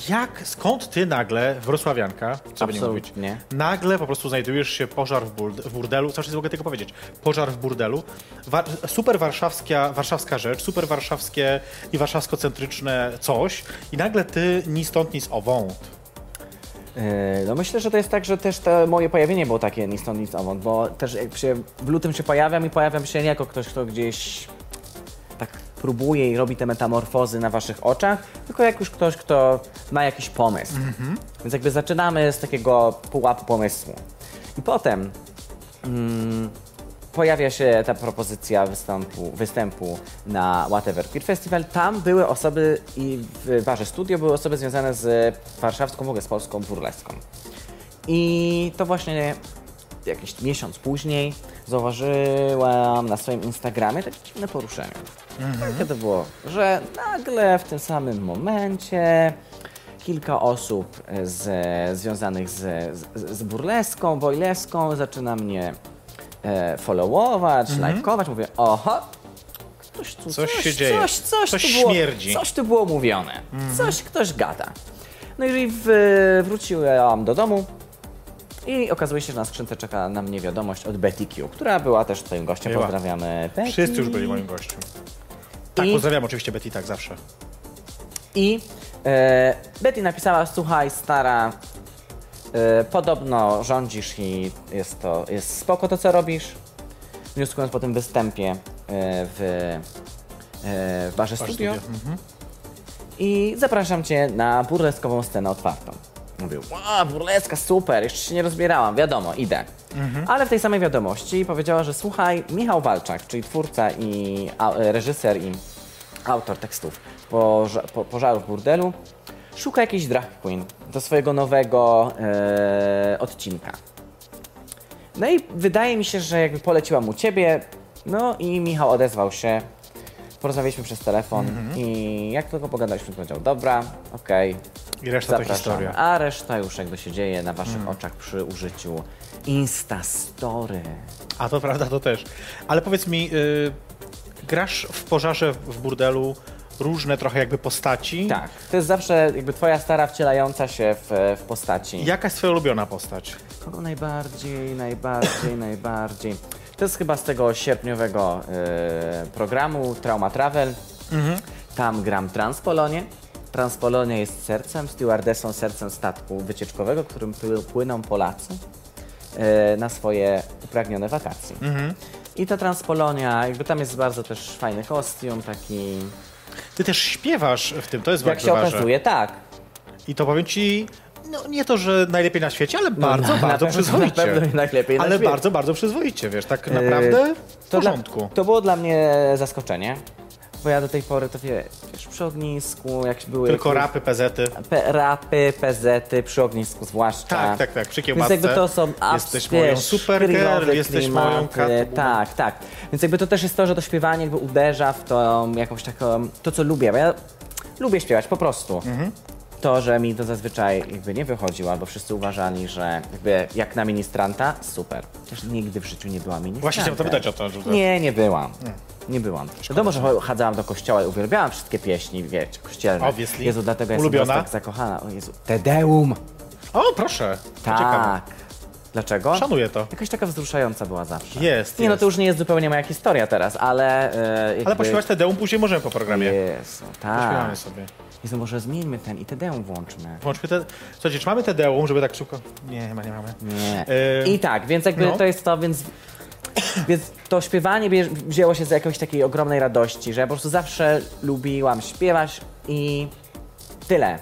jak, skąd ty nagle, wrocławianka, co by nie mówić, Absolutnie. nagle po prostu znajdujesz się pożar w, burde, w burdelu, cały czas mogę tego powiedzieć, pożar w burdelu, Wa super warszawska, warszawska rzecz, super warszawskie i warszawsko-centryczne coś i nagle ty ni stąd, ni z owąd. Yy, No myślę, że to jest tak, że też to moje pojawienie było takie ni stąd, ni stąd, bo też jak się w lutym się pojawiam i pojawiam się nie jako ktoś, kto gdzieś tak próbuje i robi te metamorfozy na waszych oczach, tylko jak już ktoś, kto ma jakiś pomysł. Więc jakby zaczynamy z takiego pułapu pomysłu. I potem mm, pojawia się ta propozycja występu, występu na Whatever Queer Festival. Tam były osoby i w barze studio były osoby związane z warszawską, w ogóle z polską burleską. I to właśnie jakiś miesiąc później zauważyłam na swoim Instagramie takie dziwne poruszenie. Jakie to było? Że nagle w tym samym momencie kilka osób e, z, związanych z, z, z burleską, boileską zaczyna mnie e, followować, lajkować. Mówię, oho, ktoś tu, Mhm. Coś coś, się dzieje. Coś, coś, Coś tu było, śmierdzi. Mhm. Coś tu było mówione. Coś ktoś gada. No i w, wróciłam do domu i okazuje się, że na skrzynce czeka na mnie wiadomość od Betty Q, która była też twoim gościem. Była. Pozdrawiamy Betty. Wszyscy już byli moim gościem. Tak, I- pozdrawiam oczywiście Betty, tak zawsze. I e, Betty napisała, słuchaj stara, e, podobno rządzisz i jest to, jest spoko to co robisz. Wnioskując po tym występie e, w, e, w barze Patrz, studio. studio. Mhm. i zapraszam cię na burleskową scenę otwartą. Mówię, wow, burleska, super, jeszcze się nie rozbierałam, wiadomo, idę. Ale w tej samej wiadomości powiedziała, że słuchaj, Michał Walczak, czyli twórca i a, e, reżyser i autor tekstów poża- po- Pożaru w burdelu, szuka jakiejś drag queen do swojego nowego e, odcinka. No i wydaje mi się, że jakby poleciła mu ciebie, no i Michał odezwał się. Porozmawialiśmy przez telefon i jak tylko pogadaliśmy, powiedział, dobra, okej, I reszta to zapraszamy. historia. Mm. A reszta już jakby się dzieje na waszych oczach przy użyciu Instastory. A to prawda, to też. Ale powiedz mi, y, grasz w pożarze w burdelu różne trochę jakby postaci. Tak, to jest zawsze jakby twoja stara wcielająca się w, w postaci. Jaka jest twoja ulubiona postać? Kogo No, najbardziej, najbardziej, najbardziej? To jest chyba z tego sierpniowego e, programu Trauma Travel. Tam gram Transpolonie. Transpolonia jest sercem, stewardessą sercem statku wycieczkowego, którym pły- płyną Polacy e, na swoje upragnione wakacje. I ta Transpolonia, jakby tam jest bardzo też fajny kostium, taki... Ty też śpiewasz w tym, to jest Jak bardzo się ważne. okazuje, tak. I to powiem ci, no nie to, że najlepiej na świecie, ale bardzo, No, na- na bardzo pewno- przyzwoicie. na pewno nie najlepiej na ale świecie. Y, bardzo, bardzo przyzwoicie, wiesz, tak naprawdę w To, dla, porządku. to było dla mnie zaskoczenie, bo ja do tej pory to wie, wiesz, przy ognisku, jak były... Tylko jakieś rapy, pezety. Pe, rapy, pezety, przy ognisku zwłaszccza. Tak, tak, tak, przy Więc kiełbasce. jakby to są abs- Jesteś moją wiesz, super girl, kryjowe jesteś klimaty, moją katą. Tak, tak. Więc jakby to też jest to, że to śpiewanie jakby uderza w tą jakąś taką, to co lubię, bo ja lubię śpiewać po prostu. Mhm. To, że mi to zazwyczaj jakby nie wychodziło, albo wszyscy uważali, że jakby jak na ministranta, super. Też nigdy w życiu nie była ministranta. Właśnie chciałem zapytać o to, że- Tak, Nie, nie byłam. Nie byłam. Wiadomo, że chadzałam do kościoła i uwielbiałam wszystkie pieśni, wiecie, kościelne. Obviously. Jezu, dlatego Ulubiona? jestem po prostu tak zakochana. O Jezu, Tedeum! O, proszę. To ciekawe. Tak. Dlaczego? Szanuję to. Jakaś taka wzruszająca była zawsze. Jest, Nie, no jest. to już nie jest zupełnie moja historia teraz, ale... E, jakby... Ale pośpiewać te deum później możemy po programie. Jezu, tak. Pośpiewamy sobie. Jezu, może zmieńmy ten i Tedeum włączmy. Włączmy te... Słuchajcie, czy mamy te deum, żeby tak szybko... Nie, chyba nie mamy. Nie. E, I tak, więc jakby no. to jest to, więc... Więc to śpiewanie bie- wzięło się z jakiejś takiej ogromnej radości, że ja po prostu zawsze lubiłam śpiewać i tyle.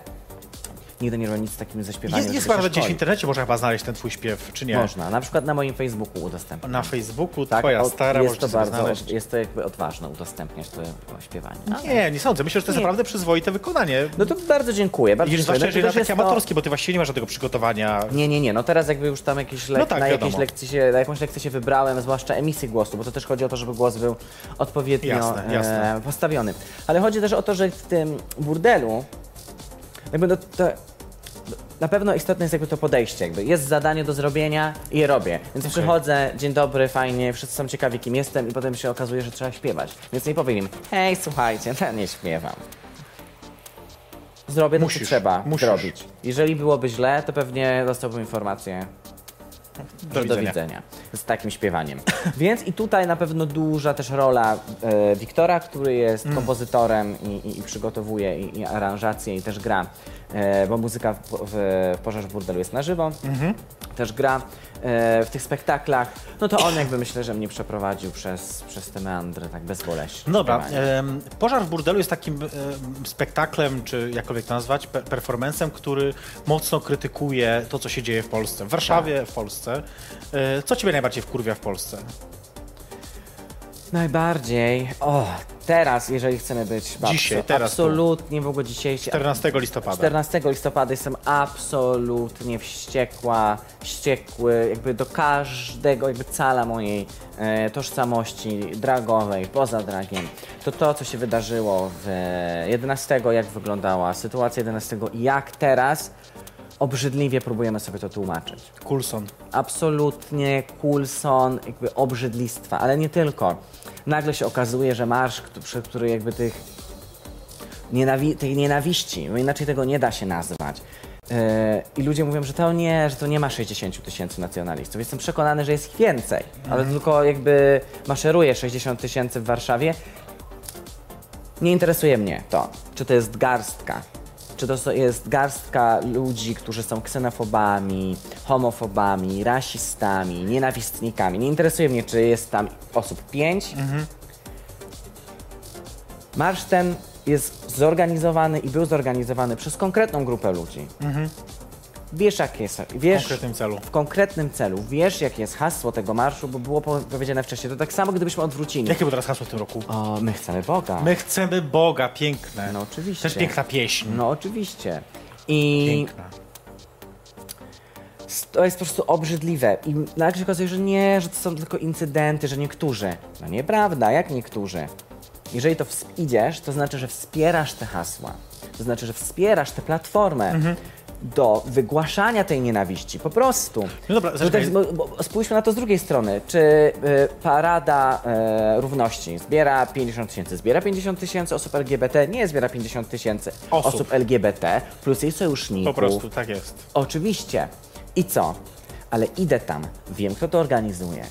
Nigdy nie robiłam nic z takim ze śpiewaniem. Jest, jest żeby się chyba gdzieś w szkolić. internecie można chyba znaleźć ten twój śpiew, czy nie? Można, na przykład na moim Facebooku udostępniam. Na Facebooku Tak, twoja o- stara jest możecie to sobie bardzo, znaleźć. No jest to jakby odważne udostępniać to śpiewanie. Nie, nie sądzę. Myślę, że to jest Nie. naprawdę przyzwoite wykonanie. No to bardzo dziękuję, bardzo Idziesz dziękuję. zwłaszcza, No jeżeli to na też jest takie to- amatorskie, bo ty właściwie nie masz żadnego przygotowania. Nie, nie, nie, no teraz jakby już tam jakieś Tak. lek- No tak, na, jakieś wiadomo. lekcje się, na jakąś lekcję się wybrałem, zwłaszcza emisję głosu, bo to też chodzi o to, żeby głos był odpowiednio Jasne, jasne. E, postawiony. Ale chodzi też o to, że w tym burdelu jakby no, to, na pewno istotne jest jakby to podejście, jakby jest zadanie do zrobienia i je robię. Więc przychodzę, dzień dobry, fajnie, wszyscy są ciekawi kim jestem i potem się okazuje, że trzeba śpiewać. Więc nie powiem im, hej, słuchajcie, ja nie śpiewam. Zrobię to, Musisz, co trzeba musisz. zrobić. Jeżeli byłoby źle, to pewnie dostałbym informację Do do widzenia. widzenia z takim śpiewaniem. Więc i tutaj na pewno duża też rola e, Wiktora, który jest Mm. kompozytorem i, i, i przygotowuje i, i aranżację i też gra, e, bo muzyka w, w, w Pożarz w Burdelu jest na żywo, Mhm. też gra e, w tych spektaklach. No to on jakby myślę, że mnie przeprowadził przez, przez te meandry tak bezboleśnie. Dobra, Śpiewanie. em, Pożar w burdelu jest takim em, spektaklem, czy jakkolwiek to nazwać, pe- performancem, który mocno krytykuje to, co się dzieje w Polsce. W Tak. Warszawie, w Polsce. E, Co ciebie najbardziej wkurwia w Polsce? Najbardziej. O, teraz, jeżeli chcemy być babcią. Dzisiaj, teraz tu. Absolutnie, w ogóle dzisiejszy. 14 listopada. 14 listopada jestem absolutnie wściekła, wściekły jakby do każdego, jakby cala mojej e, tożsamości dragowej, poza dragiem. To to, co się wydarzyło w e, 11, jak wyglądała sytuacja 11 i jak teraz obrzydliwie próbujemy sobie to tłumaczyć Coulson. absolutnie Coulson, jakby obrzydlistwa, ale nie tylko. Nagle się okazuje, że marsz, któ- przez który jakby tych nienawi- tej nienawiści, no inaczej tego nie da się nazwać. Yy, I ludzie mówią, że to nie, że to nie ma 60 000 tysięcy nacjonalistów. Jestem przekonany, że jest ich więcej, ale tylko jakby maszeruje 60 000 tysięcy w Warszawie. Nie interesuje mnie to, czy to jest garstka. Czy to so- jest garstka ludzi, którzy są ksenofobami, homofobami, rasistami, nienawistnikami. Nie interesuje mnie, czy jest tam osób pięć. Mhm. Marsz ten jest zorganizowany i był zorganizowany przez konkretną grupę ludzi. Wiesz, jak jest. Wiesz, Mhm. W konkretnym celu. W konkretnym celu. Wiesz, jakie jest hasło tego marszu, bo było po- powiedziane wcześniej. To tak samo, gdybyśmy odwrócili. Jakie było teraz hasło w tym roku? O, my chcemy Boga. My chcemy Boga, piękne. No oczywiście. Też piękna pieśń. No oczywiście. I Piękna. s- to jest po prostu obrzydliwe. I nagle się okazuje, że nie, że to są tylko incydenty, że niektórzy. No nieprawda, jak niektórzy. Jeżeli to ws- idziesz, to znaczy, że wspierasz te hasła. To znaczy, że wspierasz tę platformę. Mhm. Do wygłaszania tej nienawiści, po prostu. No dobra, Bo zaczekaj. tak, bo, bo, spójrzmy na to z drugiej strony. Czy y, Parada e, Równości zbiera 50 tysięcy? Zbiera 50 tysięcy osób LGBT? Nie zbiera 50 tysięcy Osób. osób LGBT, plus jej sojuszników. Po prostu, tak jest. Oczywiście. I co? Ale idę tam, wiem kto to organizuje.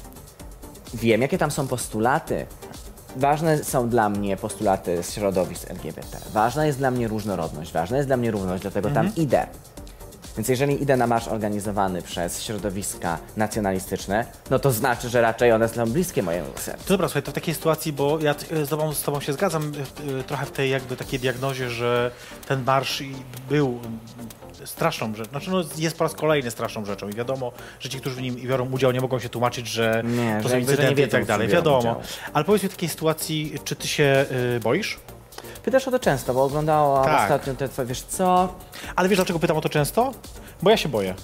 Wiem jakie tam są postulaty. Ważne są dla mnie postulaty z środowisk LGBT. Ważna jest dla mnie różnorodność, ważna jest dla mnie równość, dlatego tam idę. Więc jeżeli idę na marsz organizowany przez środowiska nacjonalistyczne, no to znaczy, że raczej one są bliskie mojemu sercu. To dobra, słuchaj, to w takiej sytuacji, bo ja t- z tobą, z tobą się zgadzam y, y, trochę w tej jakby takiej diagnozie, że ten marsz i był y, straszną rzeczą, znaczy no, jest po raz kolejny straszną rzeczą i wiadomo, że ci, którzy w nim biorą udział, nie mogą się tłumaczyć, że Nie, to że są jakby, że nie incydenty i wiedzą, tak dalej, że biorą wiadomo. udział. Ale powiedz mi w takiej sytuacji, czy ty się y, boisz? Pytasz o to często, bo oglądałam Tak. ostatnio te twoje, wiesz co, Ale wiesz, dlaczego pytam o to często? Bo ja się boję.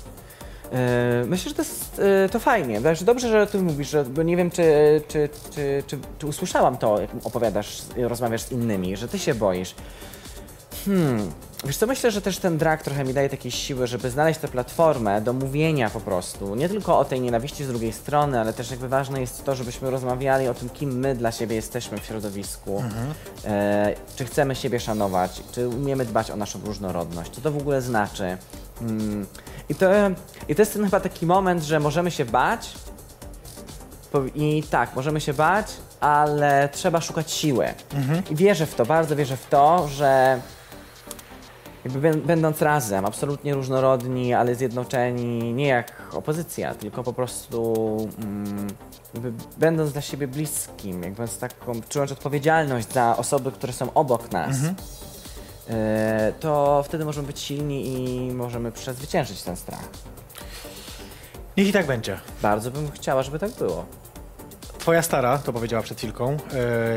E, Myślę, że to jest e, to fajnie. Znaczy, dobrze, że o tym mówisz, że, bo nie wiem, czy, czy, czy, czy, czy usłyszałam to, jak opowiadasz, rozmawiasz z innymi, że ty się boisz. Hmm. Wiesz co, myślę, że też ten drag trochę mi daje takiej siły, żeby znaleźć tę platformę do mówienia po prostu. Nie tylko o tej nienawiści z drugiej strony, ale też jakby ważne jest to, żebyśmy rozmawiali o tym, kim my dla siebie jesteśmy w środowisku. E, czy chcemy siebie szanować, czy umiemy dbać o naszą różnorodność, co to w ogóle znaczy. Mm. I, to, I to jest ten chyba taki moment, że możemy się bać, Powi- I tak, możemy się bać, ale trzeba szukać siły. I wierzę w to, bardzo wierzę w to, że jakby bę- będąc razem, absolutnie różnorodni, ale zjednoczeni, nie jak opozycja, tylko po prostu mm, jakby będąc dla siebie bliskim, jakby z taką, czując odpowiedzialność za osoby, które są obok nas, Mhm. e, to wtedy możemy być silni i możemy przezwyciężyć ten strach. Niech i tak będzie. Bardzo bym chciała, żeby tak było. Twoja stara, to powiedziała przed chwilką,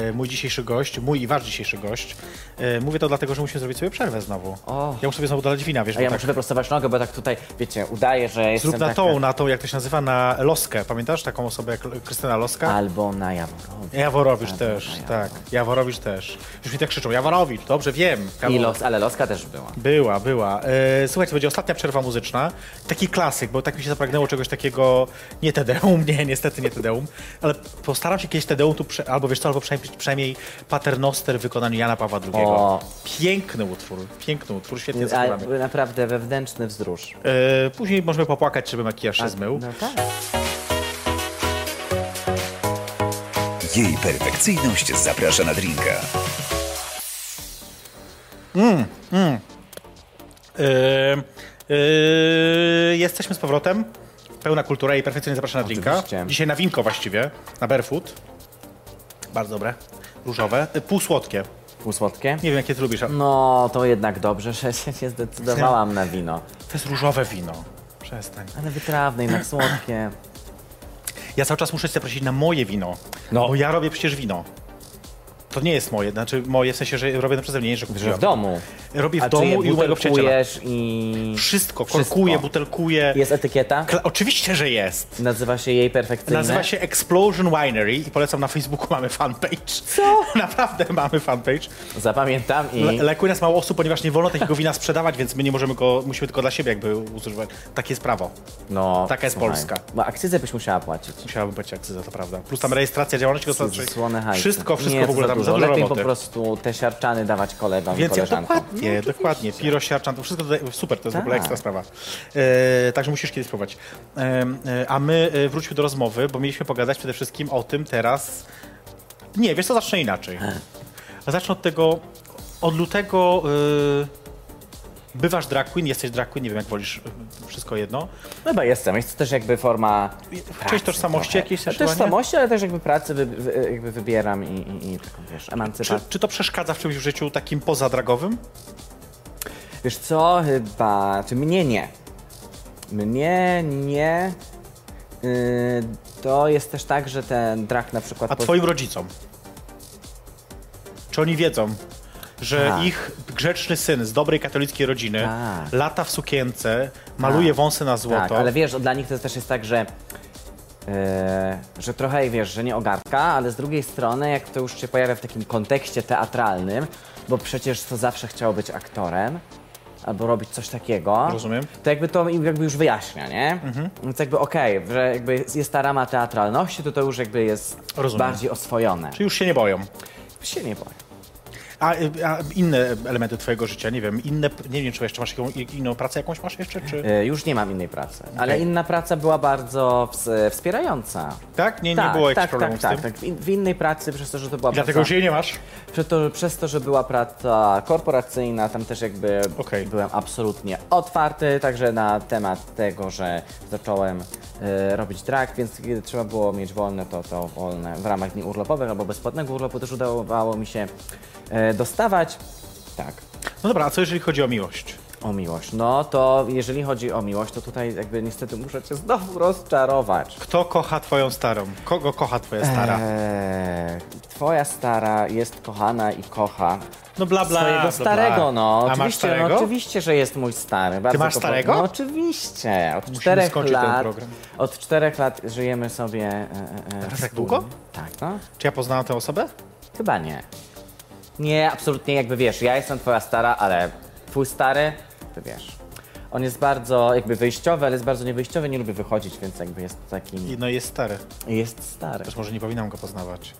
e, mój dzisiejszy gość, mój i wasz dzisiejszy gość. E, mówię to dlatego, że musimy zrobić sobie przerwę znowu. O. Ja muszę sobie znowu dolać wina, wiesz, A ja bo tak muszę wyprostować nogę, bo tak tutaj, wiecie, udaję, że jestem zrób na taka- tą, na tą, jak to się nazywa, na Loskę. Pamiętasz taką osobę jak L- Krystyna Loska? Albo na Jaworowie. Jaworowicz Albo też, na tak. Jaworowicz też. Już mi tak krzyczą, Jaworowicz, dobrze, wiem. I Jawor- los, ale loska też była. Była, była. E, słuchajcie, będzie ostatnia przerwa muzyczna. Taki klasyk, bo tak mi się zapragnęło czegoś takiego, nie Tedeum, nie, niestety nie Tedeum, ale postaram się kiedyś Tedeum tu, prze, albo wiesz co, albo przynajmniej, przynajmniej Paternoster w wykonaniu Jana Pawła II. O. Mm, Piękny utwór, piękny utwór, świetnie Ale zagrany. naprawdę wewnętrzny wzrusz. E, później możemy popłakać, żeby makijaż się zmył. No tak. Jej perfekcyjność zaprasza na drinka. E, e, jesteśmy z powrotem. Pełna kultura i perfekcyjnie zapraszana drinka. Oczywiście. Dzisiaj na winko właściwie, na barefoot. Bardzo dobre, różowe, e, półsłodkie. Pół słodkie? Nie wiem, jakie ty lubisz. ale No, to jednak dobrze, że się nie zdecydowałam na wino. To jest różowe wino. Przestań. Ale wytrawne, jednak słodkie. I ja cały czas muszę się zaprosić na moje wino. No. Bo ja robię przecież wino. To nie jest moje, znaczy moje w sensie, że robię na przeze mnie, nie, że Że kupiłem. w domu. Robię w A czy je domu i u mojego przyjaciela. butelkujesz i... Wszystko, Wszystko. korkuję, butelkuję. Jest etykieta? Kla- Oczywiście, że jest. Nazywa się jej perfekcyjne? Nazywa się Explosion Winery i polecam na Facebooku, mamy fanpage. Co? Naprawdę mamy fanpage. Zapamiętam i... Le- lekuje nas mało osób, ponieważ nie wolno takiego wina sprzedawać, więc my nie możemy go, musimy tylko dla siebie jakby używać. Takie jest prawo. No, Taka jest Polska. Bo akcyzę byś musiała płacić. Musiałaby być akcyza, to prawda. Plus tam rejestracja działalności gospodarczej. Słone hajce. Wszystko, wszystko Nie, w ogóle to tam za za dużo. dużo Lepiej roboty. po prostu te siarczany dawać kolegom i Więc ja koleżankom. dokładnie, dokładnie. Piro, siarczan, to wszystko tutaj, super, to jest w ogóle Tak. ekstra sprawa. E, także musisz kiedyś spróbować. Em, e, a my e, wróćmy do rozmowy, bo mieliśmy pogadać przede wszystkim o tym teraz. Nie, wiesz co, zacznę inaczej. Zacznę od tego, od lutego y, bywasz drag queen, jesteś drag queen, nie wiem jak wolisz, y, wszystko jedno. No bo jestem, jest to też jakby forma pracy tożsamości trochę. jakiejś Ale też ładnie? Tożsamości, ale też jakby pracy wy, wy, jakby wybieram i, i, i taką, wiesz, Czy, emancypację. czy to przeszkadza w czymś w życiu takim pozadragowym? Wiesz co, chyba, czy mnie nie. Mnie nie. Yy, to jest też tak, że ten drak na przykład... A po- twoim rodzicom? Czy oni wiedzą, że Tak. ich grzeczny syn z dobrej katolickiej rodziny Tak. lata w sukience, maluje Tak. wąsy na złoto? Tak, ale wiesz, dla nich to też jest tak, że, e, że trochę wiesz, że nie ogarka, ale z drugiej strony, jak to już się pojawia w takim kontekście teatralnym, bo przecież to zawsze chciało być aktorem. Albo robić coś takiego. Rozumiem. Mhm. To jakby to im jakby już wyjaśnia, nie? Więc jakby okej, że jakby jest- jest ta rama teatralności, to to już jakby jest Rozumiem. bardziej oswojone. Czy już się nie boją? Się nie boję. A, y, a inne elementy twojego życia, nie wiem, inne, nie wiem, czy jeszcze masz jaką, inną pracę jakąś masz jeszcze, czy... E, Już nie mam innej pracy, ale inna praca była bardzo ws- wspierająca. Tak? Nie, nie tak, było jakichś tak, tak, problemów tak, z tym? tak. W, in- w innej pracy przez to, że to była Dlatego już praca, jej nie masz? przez, to, że- przez to, że była praca korporacyjna, tam też jakby Okej. byłem absolutnie otwarty, także na temat tego, że zacząłem e, robić drag, więc kiedy trzeba było mieć wolne, to to wolne w ramach dni urlopowych albo bezpłatnego urlopu też udawało mi się e, dostawać. Tak. No dobra, a co jeżeli chodzi o miłość? O miłość. No to jeżeli chodzi o miłość, to tutaj jakby niestety muszę cię znowu rozczarować. Kto kocha twoją starą? Kogo kocha twoja stara? Eee, twoja stara jest kochana i kocha. no bla, bla, swojego bla, starego, bla. no. A Oczywiście, masz starego? no oczywiście, że jest mój stary. Bardzo masz go po- starego? No oczywiście. Od Musimy czterech skończyć ten lat. program. Od czterech lat żyjemy sobie. E, e, e, Teraz tak wspólnie. długo? Tak, no. Czy ja poznałam tę osobę? Chyba nie. Nie, absolutnie jakby wiesz, ja jestem twoja stara, ale twój stary, ty wiesz. On jest bardzo jakby wyjściowy, ale jest bardzo niewyjściowy, nie lubi wychodzić, więc jakby jest I takim... no jest stary. Jest stary. Też może nie powinnam go poznawać.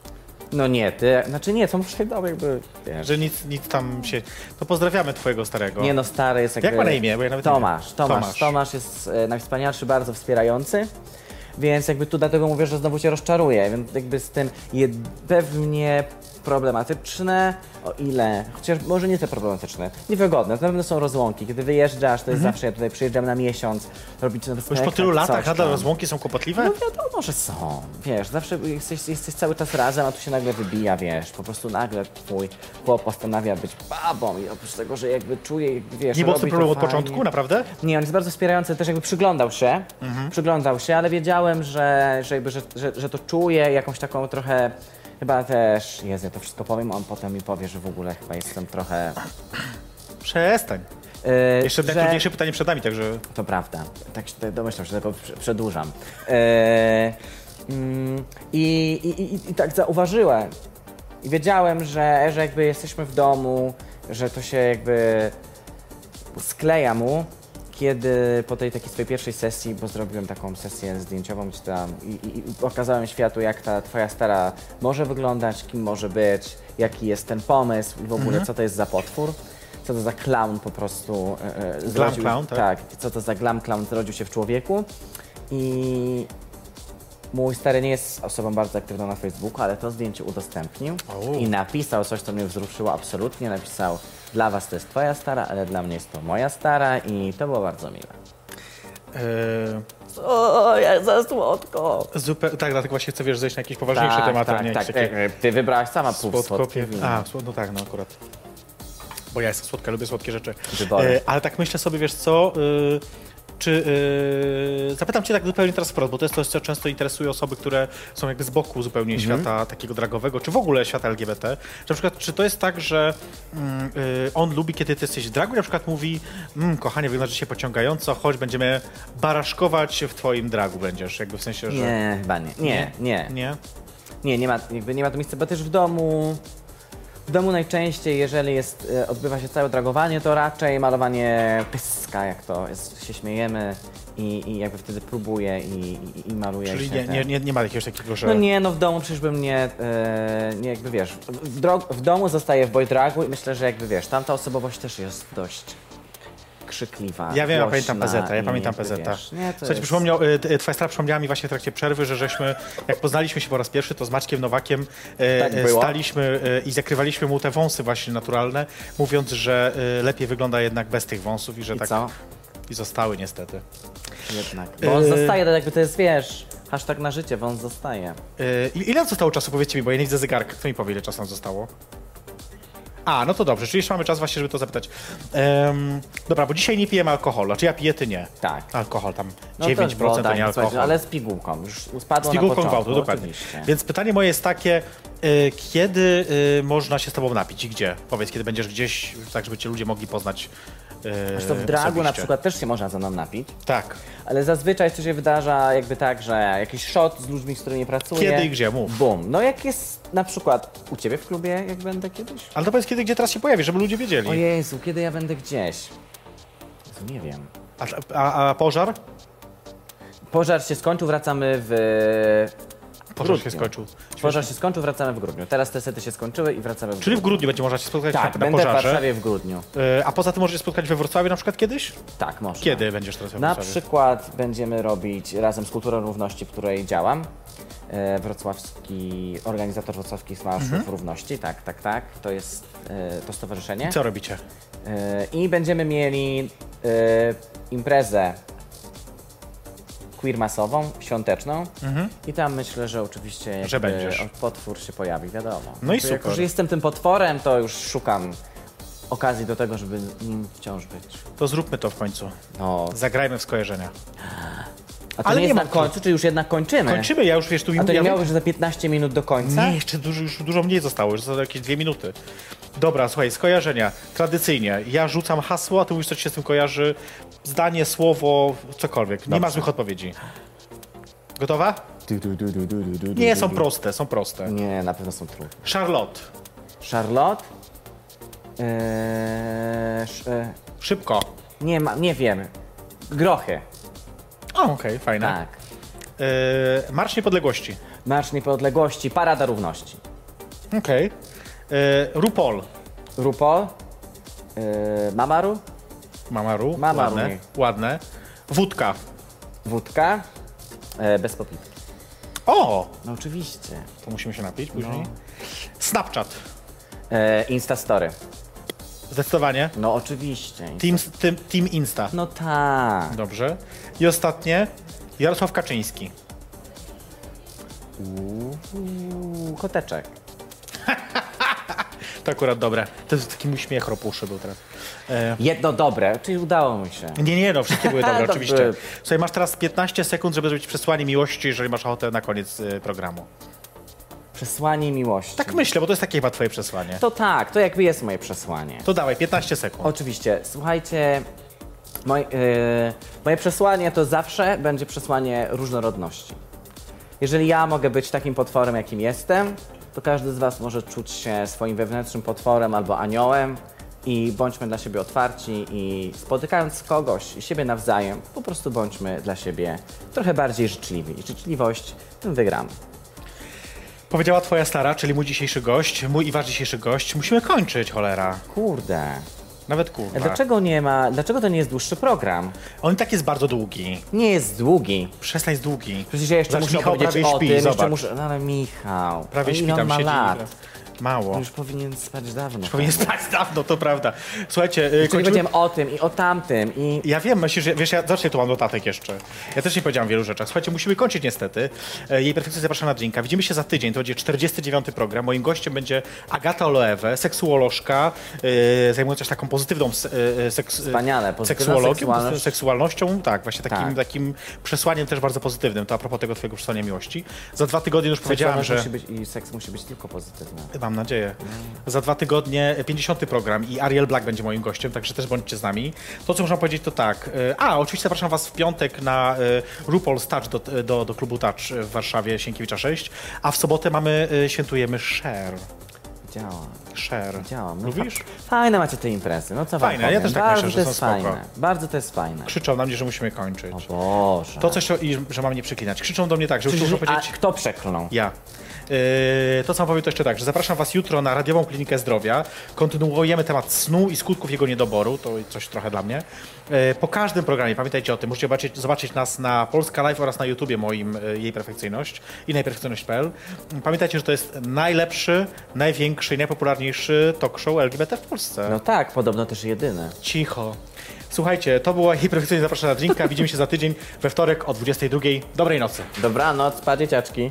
No nie, ty... Znaczy nie, to muszę dał jakby... Wiesz. Że nic, nic tam się. To pozdrawiamy twojego starego. Nie no, stary jest Jak jakby... ma na imię? Bo ja nawet nie Tomasz, wiem. Tomasz, Tomasz. Tomasz. jest e, najwspanialszy, bardzo wspierający. Więc jakby tu dlatego mówię, że znowu cię rozczaruję, więc jakby z tym je pewnie problematyczne, o ile, chociaż może nie te problematyczne, niewygodne, na pewno są rozłąki. Kiedy wyjeżdżasz, to jest zawsze, ja tutaj przyjeżdżam na miesiąc, robić ten Bo Mhm. już po tylu latach nadal rozłąki są kłopotliwe? tak, No wiadomo, że są, wiesz, zawsze jesteś, jesteś cały czas razem, a tu się nagle wybija, wiesz, po prostu nagle twój chłop postanawia być babą i oprócz tego, że jakby czuje, jakby, wiesz, nie było z tym robi to problemu od fajnie. początku, naprawdę? Nie, on jest bardzo wspierający, też jakby przyglądał się, Mhm. przyglądał się, ale wiedziałem, że, że, jakby, że, że, że to czuję, jakąś taką trochę, chyba też, Jezu, ja to wszystko powiem, a on potem mi powie, że w ogóle chyba jestem trochę... Przestań. Yy, Jeszcze że- najtrudniejsze pytanie przed nami, także. To prawda, tak się tutaj domyślam, że tego prze- przedłużam. Yy, mm, i, i, i, I tak zauważyłem i wiedziałem, że, że jakby jesteśmy w domu, że to się jakby skleja mu, kiedy po tej takiej swojej pierwszej sesji, bo zrobiłem taką sesję zdjęciową gdzie tam i, i, i pokazałem światu, jak ta twoja stara może wyglądać, kim może być, jaki jest ten pomysł i w Mhm. ogóle co to jest za potwór. Co to za clown po prostu e, e, zrodził- clown, tak? co to za glam clown zrodził się w człowieku. I mój stary nie jest osobą bardzo aktywną na Facebooku, ale to zdjęcie udostępnił Au. i napisał coś, co mnie wzruszyło absolutnie. Napisał, dla was to jest twoja stara, ale dla mnie jest to moja stara i to było bardzo miłe. Yy, O, jak za słodko! zupe... Tak, dlatego właśnie chcę wiesz, zejść na jakieś poważniejsze tematy, a tak, nie tak, jakieś takie. tak. Ty wybrałaś sama pół Słodkopie. słodkie A, słod- no tak, no akurat. Bo ja jestem słodka, lubię słodkie rzeczy. E, Wybory. ale tak myślę sobie, wiesz co? Yy, Czy yy, zapytam cię tak zupełnie teraz wprost, bo to jest coś, co często interesuje osoby, które są jakby z boku zupełnie Mhm. świata takiego dragowego, czy w ogóle świata LGBT. Czy na przykład, czy to jest tak, że mm, yy, on lubi, kiedy ty jesteś w dragu i na przykład mówi, mm, kochanie, wyglądasz się pociągająco, chodź, będziemy baraszkować w twoim dragu będziesz, jakby w sensie, że... Nie, chyba nie. Nie, nie. Nie? Nie, nie ma, jakby nie ma to miejsca, bo też w domu. W domu najczęściej, jeżeli jest, e, odbywa się całe dragowanie, to raczej malowanie pyska, jak to jest, się śmiejemy i, i jakby wtedy próbuję i, i, i maluję Czyli się. nie, ten. nie, nie, nie ma jakiegoś takiego, że... No nie, no w domu przecież bym nie, e, nie jakby wiesz, w, drog- w domu zostaję w boy dragu i myślę, że jakby wiesz, tamta osobowość też jest dość krzykliwa, Ja wiem, ja Tak, głośna pamiętam PZ, ja i pamiętam jakby, PZ. wiesz, Nie, to Słuchajcie, jest... przypomniał, y, y, twoja stara przypomniała mi właśnie w trakcie przerwy, że żeśmy, jak poznaliśmy się po raz pierwszy, to z Maćkiem Nowakiem y, Tak y, było. staliśmy y, i zakrywaliśmy mu te wąsy właśnie naturalne, mówiąc, że y, lepiej wygląda jednak bez tych wąsów i że I tak... co? I zostały niestety. Jednak. Bo on Yy. zostaje, tak jakby to jest, wiesz, hashtag na życie, bo on zostaje. No Y, i- ile zostało czasu? Powiedzcie mi, bo ja nie widzę zegarka. Kto mi powie, ile czasu nam zostało? A, no to dobrze, czyli jeszcze mamy czas właśnie, żeby to zapytać. Em, dobra, bo dzisiaj nie pijemy alkoholu, znaczy ja piję, ty nie. Tak. Alkohol tam, No to 9% jest woda, to nie słuchajcie, alkohol. Ale z pigułką, już spadło Z pigułką na gwałtu, początku, dokładnie. oczywiście. Więc pytanie moje jest takie, y, kiedy y, można się z tobą napić i gdzie? Powiedz, kiedy będziesz gdzieś, tak żeby cię ludzie mogli poznać y, To w dragu na osobiście. przykład też się można ze mną napić, Tak. ale zazwyczaj to się wydarza jakby tak, że jakiś shot z ludźmi, z którymi pracuję. Kiedy i gdzie? Mów. Bum. No jak jest na przykład u ciebie w klubie, jak będę kiedyś? Ale to powiedz, kiedy, gdzie teraz się pojawi, żeby ludzie wiedzieli. O Jezu, kiedy ja będę gdzieś? To nie wiem. A, a, a pożar? Pożar się skończył, wracamy w... Pożar grudniu. się skończył. Pożar się skończył, wracamy w grudniu. Teraz te sety się skończyły i wracamy w grudniu. Czyli w grudniu będzie można się spotkać Tak, na, na będę w pożarze. Warszawie w grudniu. Y, A poza tym możesz się spotkać we Wrocławiu na przykład kiedyś? Tak, można. Kiedy będziesz teraz we Na Wrocławiu? przykład będziemy robić razem z Kulturą Równości, w której działam. e, Wrocławski, organizator wrocławskich marszów Mhm. równości, tak, tak, tak. To jest e, to stowarzyszenie. Co robicie? E, I będziemy mieli e, imprezę queer masową, świąteczną. I tam myślę, że oczywiście jakby Mhm. będziesz. potwór się pojawi, wiadomo. No i Jakby Jako, super. że jestem tym potworem, to już szukam okazji do tego, żeby nim wciąż być. To zróbmy to w końcu. No, Zagrajmy w skojarzenia. a to Ale nie jest nie na ma- końcu, czy już jednak kończymy? Kończymy, ja już wiesz, tu E. A to ja nie miało być za 15 minut do końca? Nie, jeszcze dużo, już dużo mniej zostało, już zostało jakieś dwie minuty. Dobra, słuchaj, skojarzenia. Tradycyjnie, ja rzucam hasło, a ty mówisz, co ci się z tym kojarzy. Zdanie, słowo, cokolwiek. Nie ma złych odpowiedzi. Gotowa? Nie, są proste, są proste. Nie, na pewno są trudne. Charlotte, Charlotte? Eee, sz, e, szybko. nie, ma, nie wiem. Grochy. O, okej, fajne. Tak. Y, Marsz Niepodległości. Marsz Niepodległości, Parada Równości. Okej. Y, RuPaul. RuPaul? Eee, Mamaru? Mamaru. Mama ładne, Ru. ładne. Wódka. Wódka? Eee, bez popitki. O! No oczywiście. To musimy się napić później. No. Snapchat. Eee, Instastory. Zdecydowanie. No oczywiście. Team, team, team Insta. No tak. Dobrze. I ostatnie, Jarosław Kaczyński. Uuu, Koteczek. To akurat dobre. To jest taki mój śmiech ropuszy był teraz. E, Jedno dobre, czyli udało mi się. nie, nie, no, wszystkie były dobre, Dobrze. oczywiście. Słuchaj, masz teraz 15 sekund, żeby zrobić przesłanie miłości, jeżeli masz ochotę na koniec y, programu. Przesłanie miłości. Tak myślę, bo to jest takie chyba twoje przesłanie. To, To tak, to jakby jest moje przesłanie. dawaj, 15 sekund. Oczywiście, słuchajcie, moj, yy, moje przesłanie to zawsze będzie przesłanie różnorodności. Jeżeli ja mogę być takim potworem, jakim jestem, to każdy z Was może czuć się swoim wewnętrznym potworem albo aniołem i bądźmy dla siebie otwarci i spotykając kogoś i siebie nawzajem, po prostu bądźmy dla siebie trochę bardziej życzliwi. I życzliwość, tym wygramy. Powiedziała twoja stara, czyli mój dzisiejszy gość, mój i wasz dzisiejszy gość. Musimy kończyć, cholera. Kurde, Nawet kurwa. dlaczego nie ma, dlaczego to nie jest dłuższy program? On i tak jest bardzo długi. Nie jest długi. Przestań jest długi. Przecież ja jeszcze Zobacz, muszę Michał opowiedzieć prawie o śpi, tym, jeszcze zobacz. muszę... No ale Michał, Prawie ile śpi, on tam ma siedzi. lat? Mało. Już powinien spać dawno. Już Powinien spać dawno, to prawda. Słuchajcie, yy, Czyli kończymy... powiedziałem o tym i o tamtym i... Ja wiem, myślisz, że- wiesz, ja zawsze tu mam notatek jeszcze. Ja też nie powiedziałam wielu rzeczach. Słuchajcie, musimy kończyć niestety. E, Jej perfekcja zaprasza na drinka. Widzimy się za tydzień, to będzie 49 program. Moim gościem będzie Agata Olewe, seksuolożka, yy, zajmująca się taką pozytywną se, yy, seks, Wspaniale, pozytywna seksualność. seksualnością, tak, właśnie takim, Tak. takim przesłaniem też bardzo pozytywnym. To a propos tego twojego przesłania miłości. Za dwa tygodnie już powiedziałam, Seksualność że... musi być, I seks musi być tylko pozytywny. Mam nadzieję. Za dwa tygodnie 50. program i Ariel Black będzie moim gościem, także też bądźcie z nami. To, co można powiedzieć, to tak. e, A, oczywiście zapraszam Was w piątek na e, RuPaul's Touch do, do, do klubu Touch w Warszawie, Sienkiewicza 6, a w sobotę mamy, e, świętujemy Share. Działa. Share. Działam. No Lubisz? fa- Fajne macie te imprezy, no co wam Fajne, ja powiem. też tak Bardzo myślę, że to jest są spoko. fajne. Bardzo to jest fajne. Krzyczą na mnie, że musimy kończyć. O Boże. To, coś, co- i że mam nie przeklinać. Krzyczą do mnie tak, że już Czyli, muszę a powiedzieć... kto przeklnął? Ja. Yy, to, co powiem, to jeszcze tak, że zapraszam Was jutro na Radiową Klinikę Zdrowia. Kontynuujemy temat snu i skutków jego niedoboru. To coś trochę dla mnie. Yy, po każdym programie, pamiętajcie o tym, możecie zobaczyć, zobaczyć nas na Polska Live oraz na YouTubie moim yy, Jej Perfekcyjność i najperfekcyjność.pl. Pamiętajcie, że to jest najlepszy, największy i najpopularniejszy talk show LGBT w Polsce. No tak, podobno też jedyny. Cicho. Słuchajcie, to była Jej Perfekcyjność. Zapraszam na drinka. Widzimy się za tydzień we wtorek o 22. Dobrej nocy. Dobranoc, pa dzieciaczki.